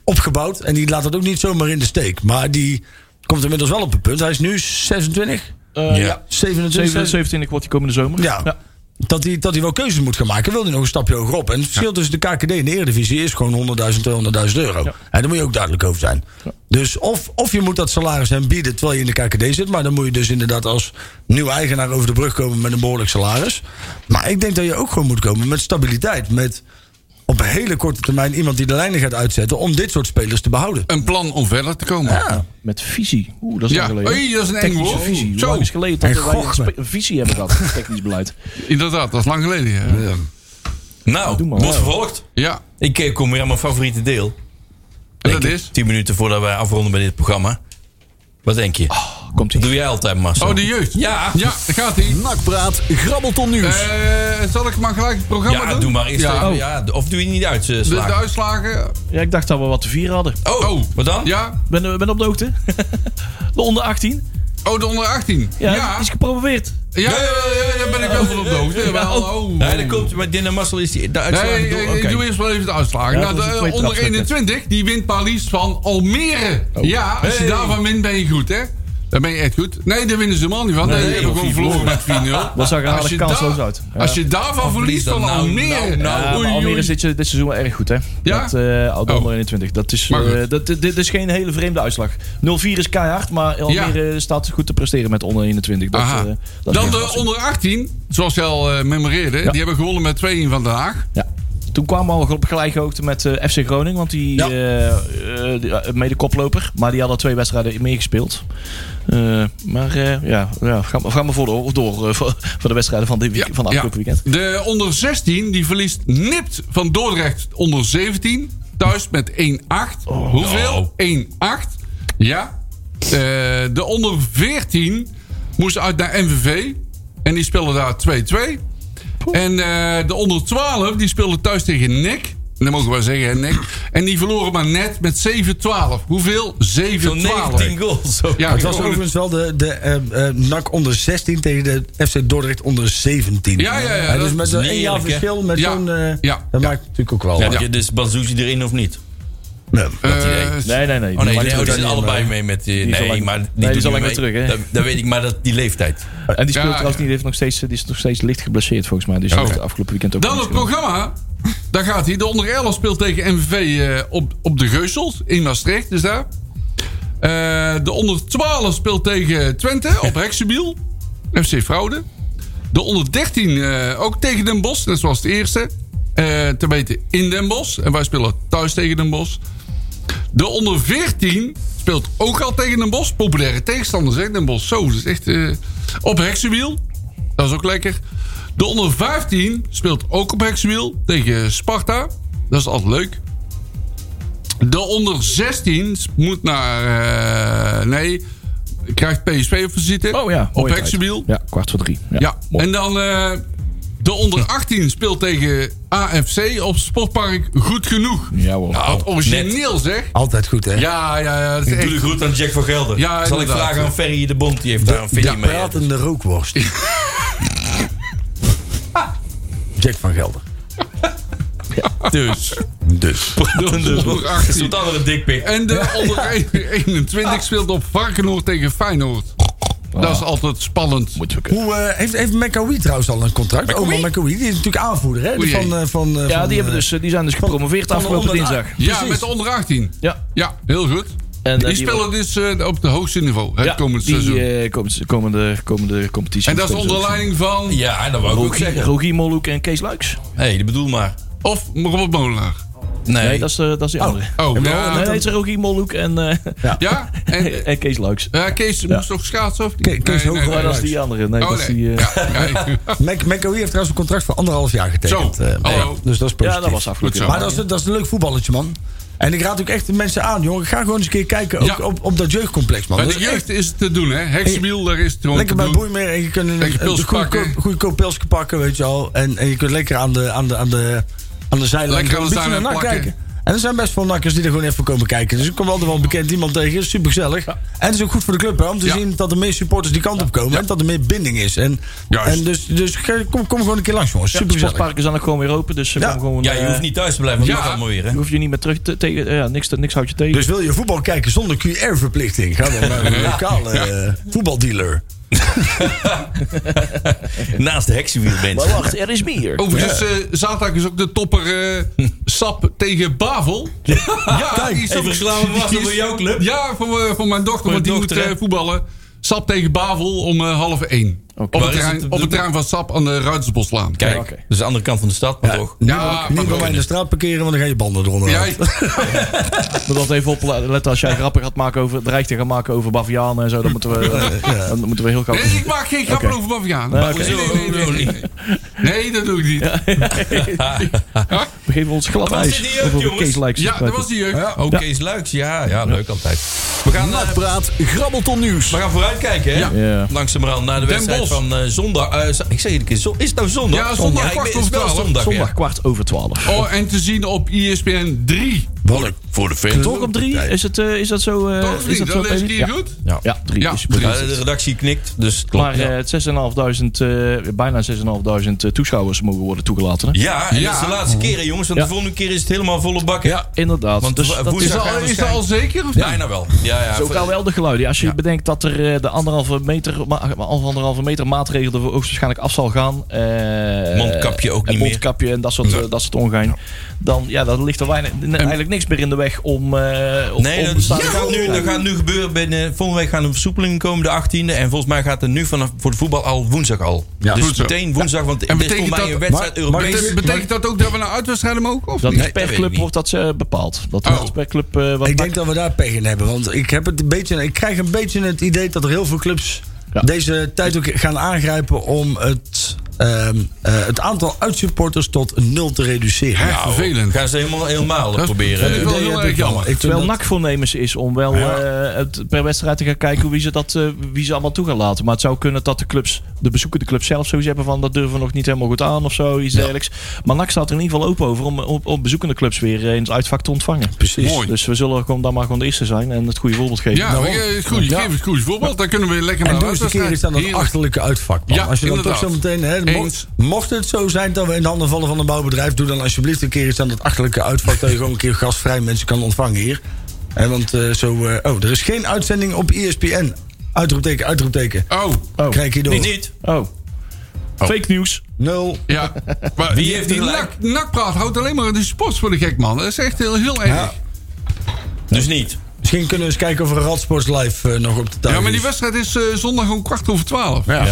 C: opgebouwd. En die laat dat ook niet zomaar in de steek. Maar die komt inmiddels wel op een punt. Hij is nu 26,
F: Eh,
D: Ja.
F: ja.
C: 27.
F: 27, 27 wordt die komende zomer.
C: Ja. Dat hij, dat hij wel keuzes moet gaan maken. Wil hij nog een stapje hogerop? En het verschil tussen de KKD en de Eredivisie is gewoon 100.000, 200.000 euro. En daar moet je ook duidelijk over zijn. Dus of, of je moet dat salaris hem bieden terwijl je in de KKD zit. Maar dan moet je dus inderdaad als nieuw eigenaar over de brug komen met een behoorlijk salaris. Maar ik denk dat je ook gewoon moet komen met stabiliteit. Met op een hele korte termijn iemand die de lijnen gaat uitzetten om dit soort spelers te behouden.
E: Een plan om verder te komen.
C: Ja.
F: Met visie. Oeh, dat is
E: Ja.
F: lang geleden.
E: Oei, dat is een eng
F: Technische
E: woord.
F: visie. Hoe
E: Zo.
F: lang is geleden dat
C: En
F: wij een,
C: goochem.
F: spe- een visie hebben gehad? op Technisch beleid.
E: Inderdaad, dat is lang geleden. hè. Ja.
D: Nou,
F: Doe maar.
D: wordt vervolgd.
E: ja.
D: Ik eh, kom weer aan mijn favoriete deel.
E: En
D: Denk
E: dat
D: ik,
E: is?
D: Tien minuten voordat wij afronden bij dit programma. Wat denk je?
F: Komt
D: Dat
F: ie.
D: doe jij altijd, Marcel.
E: Oh, de jeugd.
D: Ja.
E: Ja, gaat ie.
B: Nakpraat, grabbelton nieuws.
E: Eh, zal ik maar gelijk het programma
D: Ja,
E: doen?
D: doe maar eerst
E: Ja.
D: even.
E: Oh.
D: Ja, of doe je niet uit, eh,
E: De, de
D: slagen.
E: uitslagen.
F: Ja, ik dacht dat we wat te vieren hadden.
D: Oh,
E: Oh.
D: wat dan?
E: Ja.
F: Ben, eh, ben op de hoogte? de onder 18?
E: Oh, de onder 18.
F: Ja,
E: Ja. Ja,
F: die is geprobeerd.
E: ja, ja, ja, daar ben ik wel van op de hoogte. Jawel, oh.
D: Nee, dat komt, maar Dinner Marcel is die, de uitslag.
E: Nee, ik, ik doe eerst wel even de uitslagen.
F: Ja,
E: Nou,
F: dat is
E: de,
F: een tweede
E: onder
F: trapstuk, Oh. hè.
E: 21, die wint maar liefst van Almere. Ja, als je
D: Hey.
E: daarvan wint, ben je goed, hè? Dan ben je echt goed. Nee, daar winnen ze man niet van. Nee, die hebben
D: of
E: gewoon
D: die
E: verloren met 4-0.
F: Dat zag er
E: Als je
F: eigenlijk kansloos
E: daar-
F: uit. Ja.
E: Als je daarvan verliest
D: dan
E: van
D: nou,
E: Almere.
D: nou, nou,
F: Ja,
E: oei,
F: maar Almere
E: oei.
F: is dit, se- dit seizoen wel erg goed, hè?
E: Ja?
F: Dat, eh onder
E: Oh.
F: 21. Dat is,
E: Maar goed.
F: eh, dat, dit, dit is geen hele vreemde uitslag. 0-4 is keihard, maar Almere staat goed te presteren met onder 21. Dat,
E: Aha.
F: eh, dat is
E: Dan
F: geen
E: de
F: verrassing.
E: onder 18, zoals je al eh, memoreerde. Die hebben gewonnen met 2-1 van Den Haag.
F: Ja. Toen kwamen we al op gelijke hoogte met eh, FC Groningen. Want die,
C: Ja.
F: eh, eh, die, eh, mede koploper. Maar die hadden twee wedstrijden meer gespeeld. Eh, maar eh, ja, ja ga, maar- ga maar voor door, door eh, voor, voor de wedstrijden van, dit week, van de afgelopen weekend.
E: De onder 16 die verliest nipt van Dordrecht onder 17. Thuis met 1-8. Hoeveel? 1-8. Ja. Eh, de onder 14 moest uit naar MVV. En die speelde daar 2-2. En eh, de onder 12 die speelde thuis tegen Nick. Dat mogen we wel zeggen, hè, Nick. En die verloren maar net met 7-12. Hoeveel? 7-12.
D: Zo'n 19 goals. Zo.
E: Ja,
C: Maar het was
E: gewoon-
C: overigens wel de, de eh, eh, NAC onder 16 tegen de FC Dordrecht onder 17.
E: Ja, ja, ja,
C: Eh,
E: dat
C: dus met
E: is
C: zo'n
D: niet
C: één jaar
D: eerlijk, hè?
C: verschil met
E: Ja,
C: zo'n... eh,
E: ja,
C: dat
E: ja.
C: maakt natuurlijk ook wel...
D: Heb
C: wat.
D: je dus Banzuzi erin of niet?
C: Nee.
E: Eh,
D: idee.
F: Nee, nee, nee.
D: Oh
F: Maar
D: nee, die,
F: die
D: oh, die
F: doet
D: zijn
F: dat niet,
D: allebei
F: eh,
D: mee met... Die,
F: die is al
D: nee,
F: lang-
D: maar die
F: nee, die
D: doet
F: is al
D: niet
F: lang weer
D: mee.
F: terug, hè?
D: Dat, dat weet ik, maar dat, die leeftijd.
F: En die speelt
E: Ja,
F: trouwens
E: ja.
F: niet. Die, heeft nog steeds, eh, die is nog steeds licht geblesseerd volgens mij. Dus die
E: Oké.
F: heeft de afgelopen weekend ook
E: Dan
F: niet
E: het
F: gespeeld.
E: programma. Daar gaat hij. De onder 11 speelt tegen MVV eh, op, op de Geusels in Maastricht. Dus daar. Eh, de onder 12 speelt tegen Twente op Heksenbiel. FC Fraude. De onder 13 eh, ook tegen Den Bosch. Dat was het eerste. Eh te weten in Den Bosch. En wij spelen thuis tegen Den Bosch. De onder 14 speelt ook al tegen Den Bosch. Populaire tegenstanders, hè, Den Bosch. Zo, dat is echt... eh, op heksenwiel. Dat is ook lekker. De onder 15 speelt ook op heksenwiel tegen Sparta. Dat is altijd leuk. De onder 16 moet naar... eh, nee, krijgt PSV op visite.
F: Oh ja.
E: Op
F: mooie tijd.
E: heksenwiel.
F: Ja, kwart voor drie. Ja.
E: Ja,
F: mooi. Hm.
E: en dan eh, de onder 18 speelt tegen AFC op Sportpark Goed Genoeg.
F: Ja, hoor.
E: Nou, wat origineel zeg.
C: Altijd goed, hè?
E: Ja, ja, ja. Dat is
D: Doe
E: echt...
D: de groet aan Jack van Gelder.
E: Ja,
D: Zal ik
E: inderdaad.
D: vragen aan Ferry de Bond, die heeft daar een video
E: ja,
D: mee.
C: Pratende rookworst. Ah. Jack van Gelder.
D: Dus.
C: Dus.
D: Pratende
E: onder
D: Dat is
E: 18.
D: wat andere dikpik.
E: En de onder 21 speelt op Varkenoord tegen Feyenoord.
F: Ah.
E: Dat is altijd spannend.
F: Moeten we kunnen.
C: Hoe, eh, heeft heeft McAwee trouwens al een contract?
D: McAwee?
C: Oma McAwee, die is natuurlijk aanvoerder, hè?
E: Oei,
C: Van,
E: jee.
C: eh, van, eh,
F: Ja,
C: van,
F: die, hebben
C: eh,
F: dus, eh, die zijn dus gepromoveerd
C: van de
F: afgelopen
C: onder-
F: dinsdag.
E: Ja,
C: Precies.
E: met de onder 18.
F: Ja.
E: Ja, heel goed.
F: En, eh,
E: Ah. Die spelen dus eh, op het hoogste niveau het
F: ja,
E: komend
F: die,
E: seizoen.
F: eh, komend- komende, komende competitie.
E: en dat is onder leiding van...
D: Ja, dat wou ik ook
F: Rogier,
D: zeggen.
F: Rogier Molhoek en Kees Luiks.
D: Hé, hey, dat bedoel maar.
E: Of Robert Molenaar.
D: Nee,
F: Nee, dat is, de- dat is die andere.
E: Oh,
F: Nee,
E: ja.
F: nee, het is Rogier Molhoek en, eh,
E: Ja, en,
F: en Kees Luiks.
E: Ja, Eh, Kees moest toch schaatsen of niet?
C: Ke- Kees
E: Nee, nee,
C: Hoogelaar.
F: Maar
E: nee.
F: dat is die andere. Nee,
E: Oh,
F: dat is
E: nee.
F: die, eh,
E: Ja, ja.
C: Mac- McAwee heeft trouwens een contract voor anderhalf jaar getekend.
E: Zo, Oh,
C: eh,
E: hallo.
C: ja, Dus dat is
F: ja,
C: positief.
F: dat was afgelopen.
E: Goed zo.
F: jaar.
C: Maar dat is, dat is een leuk voetballetje, man. En ik raad ook echt de mensen aan, jongen. Ga gewoon eens een keer kijken ook
E: Ja.
C: op, op dat jeugdcomplex, man.
E: Bij
C: Dat
E: de
C: is echt-
E: jeugd is het te doen, hè? Heksenwiel, daar is het gewoon
C: Lekker
E: te
C: bij
E: doen.
C: Boeimeer en je kunt een,
E: Lekker
C: een
E: pils
C: goedkoop,
E: pakken.
C: goedkoop pilsje pakken, weet je al. En, en je kunt lekker aan de, aan de, aan de, aan de zijlijn
E: Lekker aan de
C: een beetje
E: zijlijn
C: naar
E: plakken.
C: kijken. En er zijn best veel nakkers die er gewoon even komen kijken. Dus ik kom altijd wel een bekend iemand tegen. Super gezellig. En het is ook goed voor de club hè, om te
E: Ja.
C: zien dat er meer supporters die kant op komen. En dat er meer binding is. En,
E: Juist.
C: en dus, dus ge- kom, kom gewoon een keer langs, jongens. Super
F: Het
C: gezellig.
F: sportpark is dan ook gewoon weer open, dus ze
C: Ja.
F: komen gewoon...
D: Ja, je
F: eh,
D: hoeft niet thuis te blijven, want dat
E: Ja.
D: mag allemaal weer, hè?
F: je hoeft je niet meer terug te, tegen... Ja, niks, niks houdt je tegen.
C: Dus wil je voetbal kijken zonder QR-verplichting? Ga dan naar een lokale eh, voetbaldealer.
E: Ah,
D: Naast de heksenwiel bent.
F: maar wacht, er is meer.
E: Overigens, eh, zaterdag is ook de topper eh, Sap tegen Bavel. Ja, die is ook-
D: even reclame was
E: die is-
D: voor jouw club.
E: Ja, voor, eh, voor mijn dochter, want die
D: dochter,
E: moet
D: hè?
E: eh, voetballen. Sap tegen Bavel om eh, half één. Op,
D: Waar
E: het
D: is
E: terrein,
D: het?
E: op het terrein van Sap aan de Ruidersboslaan.
D: Kijk,
F: oké.
D: dus de andere kant van de stad, maar toch.
E: Ja, maar
C: Niet bij mij in de straat parkeren, want dan ga je banden eronder.
E: Ja,
C: uit.
F: Ik moet altijd even opletten als jij grappen gaat maken over... Dreigt te gaan maken over bavianen en zo. Dan moeten we, eh, dan moeten we heel
E: nee,
F: graag...
E: ik maak geen grappen
F: Oké.
E: over Baviaan.
F: Nee, oké.
E: nee, nee, nee, nee, nee. Nee, dat doe ik niet.
F: We geven ons glad
D: was
F: ijs.
D: dit die jeugd,
F: over
D: jongens?
F: Kees Lijks.
E: Ja, dat was die jeugd.
D: Ja, Oké, is leuk. Oh, Ja, ja, leuk altijd. We gaan, eh,
B: Nakpraat, grabbelton nieuws.
D: we gaan vooruitkijken, hè?
E: Ja.
F: Ja.
D: Langzamerhand naar de
E: Den
D: wedstrijd
E: Bosch.
D: van eh, zondag. eh, z- ik zeg het een keer, zo- is het nou zondag?
E: Ja, zondag,
D: ik
E: kwart
D: ben- het
E: over
D: is wel
E: twaalf.
D: zondag, ja.
F: Zondag kwart over twaalf.
E: Oh, en te zien op ESPN 3.
D: Voor, voor de fans.
F: Toch op drie? Is, het, eh, is dat zo? eh,
E: Toch
F: is
E: niet?
F: zo
E: Dat lees ik
F: Peter?
E: hier goed.
D: Ja.
F: Ja, drie
E: Ja,
F: is
E: drie.
D: Ja,
F: precies.
D: de redactie knikt, dus het klopt.
F: Maar eh,
D: ja.
F: het 6.500, eh, bijna 6.500 eh, toeschouwers mogen worden toegelaten. Hè?
D: ja, en
E: Ja.
D: dat is de laatste keer, hè, jongens. Want
F: Ja.
D: de volgende keer is het helemaal volle bakken.
E: Ja.
F: Inderdaad.
D: Want
F: dus
D: wo-
F: dat
E: Is
F: is
D: woensdag-
E: dat, al- is dat al zeker of niet?
D: Bijna wel. Ja, ja.
F: ook al wel de geluiden. Als je bedenkt dat er eh, de anderhalve meter, ma- anderhalve meter maatregel er hoogstwaarschijnlijk af zal gaan. eh,
D: Mondkapje ook
F: en
D: niet meer.
F: Mondkapje en dat soort, eh, dat soort ongein. Dan ja, dan ligt er weinig, n- eigenlijk niks meer in de weg om... eh, om
D: Nee,
F: om
D: dat,
F: staan-
D: dat gaat nu, dat gaat nu gebeuren. Binnen, volgende week gaan de versoepelingen komen, de 18e. En volgens mij gaat er nu vanaf voor de voetbal al woensdag al. dus
E: Goed zo.
D: meteen woensdag, want
E: En
D: er is
E: betekent
D: volgens mij
E: dat-
D: een wedstrijd
C: maar-
D: Europees.
E: Bete- Betekent dat ook dat we naar uitwedstrijden mogen? Of
F: Dat
E: niet?
F: is per
D: dat weet ik
F: club
D: niet.
F: wordt dat eh, bepaald. Dat
E: Oh.
F: wordt per club eh, wat
C: Ik
F: maakt-
C: denk dat we daar pech in hebben. Want ik, heb het een beetje, ik krijg een beetje het idee dat er heel veel clubs
F: Ja.
C: deze tijd ook gaan aangrijpen om het, ehm, eh, het aantal uitsupporters tot nul te reduceren.
E: Hè,
D: Nou,
E: vervelend.
D: Gaan ze helemaal, helemaal proberen.
E: dat is wel
C: idee
E: heel
C: heb
E: erg
C: ik wel.
E: jammer.
C: Ik vind
F: Terwijl
C: dat-
F: NAC voornemens is om wel eh, het per wedstrijd te gaan kijken wie ze, dat, eh, wie ze allemaal toe gaan laten. Maar het zou kunnen dat de clubs, de bezoekende clubs zelf sowieso hebben van dat durven we nog niet helemaal goed aan of zo, iets dergelijks. Maar NAC staat er in ieder geval open over om, om, om bezoekende clubs weer eh, in het uitvak te ontvangen.
C: Precies.
E: Mooi.
F: Dus we zullen gewoon dan maar gewoon de eerste zijn en het goede voorbeeld geven.
E: Ja,
D: Nou,
C: Daarom.
E: eh, is goed.
C: Ja.
E: Geef het goed voorbeeld. Dan kunnen we lekker naar
C: En
E: de
C: doe eens een keer
E: uitwedstrijd.
C: iets aan dat
E: Heerlijk.
C: achterlijke uitvak. man.
E: Ja,
C: als je dan
E: inderdaad.
C: toch zo meteen. Hè, mo-
E: Eens.
C: mocht het zo zijn dat we in de handen vallen van een bouwbedrijf, doe dan alsjeblieft een keer iets aan dat achterlijke uitvak. dat je gewoon een keer gastvrij mensen kan ontvangen hier. En want eh, zo. eh, oh, er is geen uitzending op E ESPN. Uitroepteken, uitroepteken.
E: Oh,
F: Oh.
C: Krijg je door.
D: Niet, niet.
F: Oh. Fake nieuws.
C: Nul.
E: ja. Maar
D: Wie
E: die-
D: heeft
E: die
D: gelijk?
E: nak- nakpraat houdt alleen maar de sports voor de gek, man. Dat is echt heel, heel erg.
C: Ja.
E: Ja,
D: Dus niet.
C: Misschien kunnen we eens kijken of er Radsports Live eh, nog op de tafel
E: maar die
C: is.
E: wedstrijd is eh, zondag om kwart over twaalf.
D: Ja.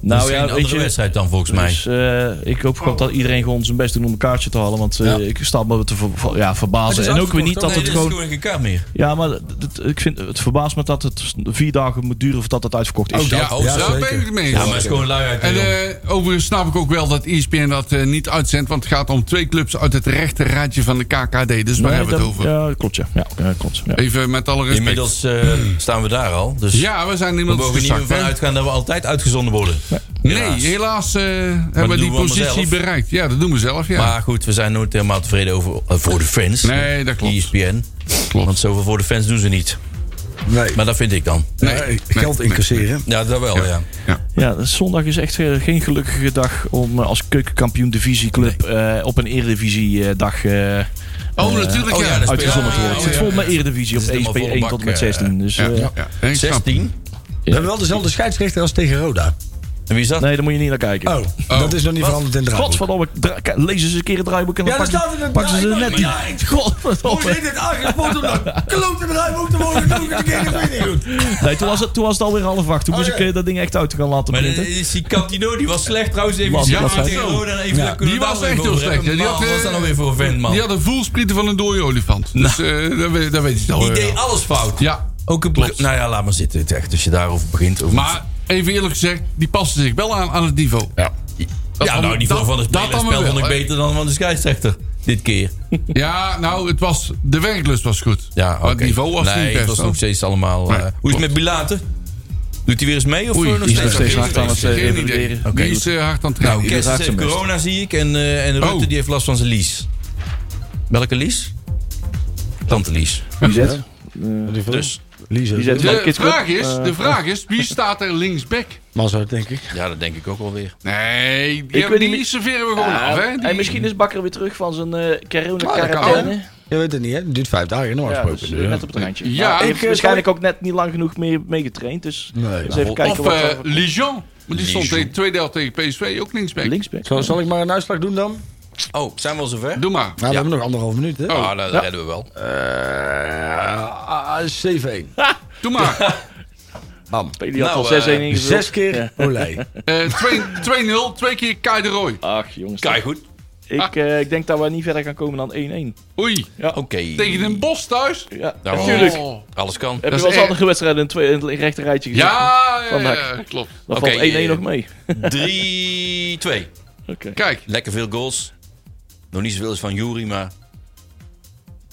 F: Nou
D: Nou
F: ja,
D: ja, een
F: weet
D: andere
F: je-
D: wedstrijd dan volgens mij.
F: Dus eh, ik hoop gewoon dat iedereen gewoon zijn best doet om een kaartje te halen. Want eh, ik sta me te ver- ver- ja, verbazen. En ook weer niet dat
D: Dus
F: het
D: Nee, dit is
F: gewoon...
D: gewoon geen kaart meer.
F: Ja, maar dat- dat- ik vind, het verbaast me dat het vier dagen moet duren voordat het uitverkocht is.
E: Ja,
D: oh,
E: daar
D: ja,
E: ben
C: zeker.
E: ik het mee eens.
D: Ja, maar het is gewoon lui uit.
E: En eh, overigens snap ik ook wel dat ESPN dat eh, niet uitzendt. Want het gaat om twee clubs uit het rechterraadje van de KKD. Dus waar
F: Nee,
E: hebben we het
F: dat-
E: over?
F: Ja, dat klopt. Ja, ja, ja, dat klopt. Ja.
E: Even met alle respect.
D: Inmiddels eh, staan we daar al. Dus
E: Ja, we zijn
D: we
E: inmiddels
D: mogen er niet meer
E: gezakt,
D: van
E: hè?
D: uitgaan dat we altijd uitgezonden worden.
E: Nee,
D: Helaas.
E: helaas eh, hebben we
D: doen
E: die
D: we allemaal
E: positie
D: zelf?
E: bereikt. Ja, dat doen we zelf, ja.
D: Maar goed, we zijn nooit helemaal tevreden over, eh, voor de fans.
E: Nee, dat
D: E
E: klopt.
D: ESPN.
E: Klopt.
D: Want zoveel voor de fans doen ze niet.
C: Nee.
D: Maar dat vind ik dan.
E: nee,
C: Nee,
E: nee,
C: geld
E: nee,
C: incasseren.
D: Ja, dat wel, ja.
F: Ja, zondag is echt eh, geen gelukkige dag om eh, als keukenkampioen divisieclub eh, op een eredivisie eh, dag eh,
E: Oh, natuurlijk,
D: oh
E: ja.
D: ja, dat is-
F: uitgezonden te worden.
D: ja, ja,
F: Het zit
D: ja,
F: vol
D: ja.
F: met eredivisie op E
D: Het is helemaal volle
F: 1SP1 tot en
D: bak,
F: met 16. Dus,
E: Ja,
F: eh,
E: ja, ja. Ik snap
D: 16.
C: We hebben wel dezelfde scheidsrechter als tegen Roda.
D: En wie is dat?
F: nee, daar moet je niet naar kijken.
C: Oh, dat is nog niet veranderd in de draad.
F: Godverdomme, dra- k- lezen ze eens een keer het draaiboek en dan
C: Ja, daar
F: pakken-
C: staat het
F: pakken
C: in het
F: ze er
C: draaiboek.
F: net in.
C: Ja, ik- Hoe
F: Godverdomme.
C: is dit aangepakt om dat klote bedrijf ook te mogen doen? Ik weet het niet goed.
F: Nee, toen was het, toen was het alweer half acht. Toen
C: Oh,
F: moest
C: ja.
F: ik eh, dat ding echt uit gaan laten
D: Maar eh,
F: printen.
D: dat is die Cantino, die was slecht trouwens. Even
F: Wat,
D: gezien.
E: wat, wat?
D: tegen Roda en even daar kunnen
E: die
D: we
E: was
D: daar
E: echt
D: even
E: heel
D: over
E: slecht.
D: hebben.
E: Die had,
D: Maar Wat is
E: eh,
D: dat nou weer voor een vent, man?
E: Die
D: Die,
E: had een voelsprieten van een dode olifant. Dus eh, dat, weet, dat weet je al.
D: deed alles fout.
E: Ja,
D: Ook een
E: Klopt.
D: Nou ja, laat maar zitten. Het echt, als je daarover begint. Over
E: maar even eerlijk gezegd, die paste zich wel aan aan het niveau.
D: ja,
E: Dat
D: ja
E: allemaal-
D: nou, die voor
E: dat-
D: van de
E: dat
D: speler
E: allemaal
D: spel vond ik
E: wel, hè.
D: beter dan van de scheidsrechter. Dit keer.
E: Ja, nou, het was, de werklust was goed.
D: Ja,
E: Maar het
D: oké.
E: niveau was
D: nee,
E: niet
D: het
E: best.
D: was
E: hoor.
D: nog steeds allemaal... eh,
E: Nee,
D: hoe is het
E: klopt.
D: met Bilater? Doet hij weer eens mee? Of eh, nog
E: die is
D: steeds?
E: nog steeds
D: Geen
E: hard
D: idee.
E: aan het
F: eh,
E: Geen idee.
F: evalueren. Oké,
E: Die is
F: goed.
E: eh, hard aan
D: Nou,
E: het trainen.
D: Kerst
F: raakt
D: heeft
F: hem best.
D: corona, zie ik. En, eh en Rutte,
E: Oh.
D: die heeft last van zijn lies. Welke lies? Tante Lies.
F: Wie zet?
D: Dus,
C: Lize.
F: Die zet-
E: De
F: Kids Club,
E: vraag, is,
F: eh,
E: de vraag is, wie staat er linksback?
C: Mazart, denk ik.
D: ja, dat denk ik ook alweer.
E: Nee, die,
F: Ik weet
E: hebben, die
F: niet-
E: serveren we gewoon af, hè? Die-
F: Nou, En misschien is Bakker weer terug van zijn eh
E: Maar dat kan.
F: corona-quarantaine.
C: Je weet het niet, hè? Het duurt vijf dagen, normaal
F: Ja,
C: gesproken.
F: dus, eh,
C: Dus, ja.
F: net op het randje.
E: Ja,
F: Maar hij
E: ik,
F: heeft
C: eh,
F: waarschijnlijk ook net niet lang genoeg mee, meegetraind. Dus
C: Nee.
F: eens even kijken
E: of
F: wat
E: eh,
F: er-
E: Lijon. Maar die stond
D: Lijon.
E: tegen tweede helft tegen PSV, ook linksback.
F: linksback.
C: Zal, zal ik maar een uitslag doen dan? Nou,
D: Oh, zijn we al zover?
E: Doe maar.
C: we hebben nog anderhalf minuut, hè?
D: Oh, nou, dat redden we wel.
C: Eh, ah, 7-1.
E: Doe maar.
C: Bam.
F: Die had
D: Nou,
F: al 6-1
D: eh,
F: ingevuld.
C: Zes keer Olij.
E: Eh, twee- 2-0, twee keer Kai de Roy.
F: Ach jongens,
D: Kijk goed.
F: ik, eh, ik denk dat we niet verder gaan komen dan 1-1.
E: Oei,
D: Oké.
E: tegen Den Bos thuis.
F: Ja,
D: Nou,
F: natuurlijk.
E: Oh.
D: Alles kan.
F: Heb je
E: is
F: wel eens
E: echt-
F: andere wedstrijden in, twee, in het rechte rijtje gezien?
E: Ja, ja,
F: Van
E: ja,
F: Hak.
E: ja, klopt.
F: Dan
D: Oké,
F: valt 1-1
D: eh,
F: nog mee.
D: 3-2.
F: Oké.
E: Kijk,
D: Lekker veel goals. Nog niet zoveel als van Jury, maar...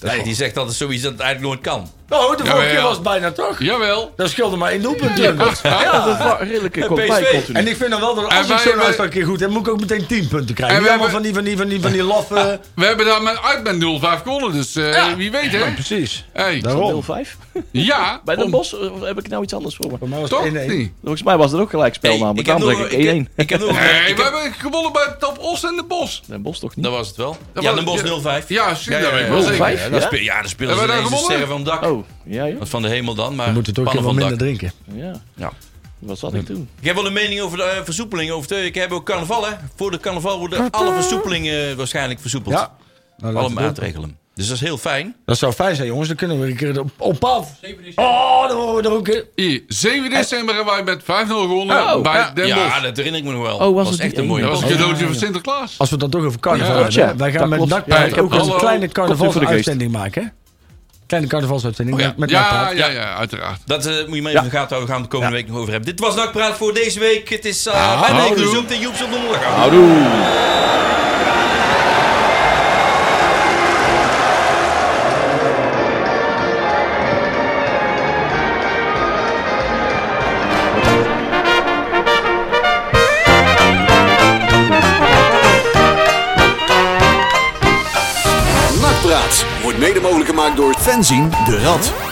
D: Nee, die zegt altijd zoiets dat het eigenlijk nooit kan.
C: Nou, de vorige
E: ja.
C: keer was het bijna toch?
E: jawel.
C: Dat scheelde maar één doelpunt. natuurlijk.
F: Ja, dat was een redelijke kopij
D: PSV.
F: continu.
C: En ik vind dan wel dat als
E: En
C: ik
E: wij-
C: zo'n
E: wij-
C: uitslag een keer goed heb, moet ik ook meteen 10 punten krijgen.
E: En
C: Niet
E: wij-
C: allemaal van die, van die, van die, van die laffe...
E: We hebben daar met, uit met 0-5 gewonnen, dus eh, wie weet, hè?
C: Precies.
E: Hey.
C: Daarom.
F: 0-5?
E: Ja,
F: Bij Den
E: om-
F: Bos of heb ik nou iets anders voor me?
C: Voor mij was het
E: toch
C: 1-1.
E: niet.
F: Volgens mij was er ook gelijkspel
D: Hey,
F: namelijk.
D: heb
F: Daarom
D: nog-
F: zeg ik 1-1.
D: Ik heb nog...
E: Nee,
D: ik
E: we
D: heb-
E: hebben gewonnen bij Top Os en Den Bos.
F: Den Bos toch niet?
D: Dat was het wel.
E: Dat
D: ja,
E: was-
D: Den Bos
E: ja.
D: 0-5.
E: Ja, zie, dat weet ik wel
F: 0-5?
E: zeker.
D: Ja,
F: Ja?
D: dan speel- ja, dan spelen ze
E: Hebben
D: ineens
E: we daar
D: de
E: gewonnen?
D: sterren van het dak.
F: Oh, ja joh.
D: Dat is van de hemel dan, maar
C: We moeten toch
D: pannen
C: even wat
D: van het
C: minder
D: dak.
C: drinken.
F: Ja.
D: Ja.
F: Wat zat ik toen?
D: Ik heb wel een mening over de eh, versoepeling. Over de, ik heb ook carnaval, hè. Voor de carnaval
E: Ah.
D: worden alle versoepelingen eh, waarschijnlijk versoepeld.
C: Ja. Nou,
D: alle
C: laten we doen.
D: maatregelen. Dus dat is heel fijn.
C: Dat zou fijn zijn, jongens. Dan kunnen we een keer op, op pad. Oh, dan worden we er ook een keer...
E: Hier, 7 december hebben wij met 5-0 gewonnen
F: Oh,
E: bij
F: ja.
E: Den
D: ja,
E: Bosch.
D: dat herinner ik me nog wel.
F: was
D: was
F: het
D: echt
F: die
D: een mooie
E: Dat was een
D: carnaval.
E: cadeautje van Sinterklaas.
C: Als we het dan toch over carnaval
E: Ja,
C: hebben.
F: klopt, ja.
C: Wij gaan
F: Dat
C: met
F: klopt.
C: Nakpraat
E: Ja, ik heb
C: ook een
E: hallo.
C: kleine
F: voor de geest.
C: carnavalsuitzending maken. hè? Kleine carnavalsuitzending
D: Oh ja.
C: met, met
E: Ja,
C: Nakpraat.
E: ja, ja, uiteraard.
D: Dat eh, moet je mee in de gaten houden. Gaan we het de komende week nog over hebben. Dit was Nakpraat voor deze week. Het is eh bijna
E: houdoe.
D: gezoomd en Joeps op de morgen.
B: Nakpraat wordt mede mogelijk gemaakt door Fenzin de Rad.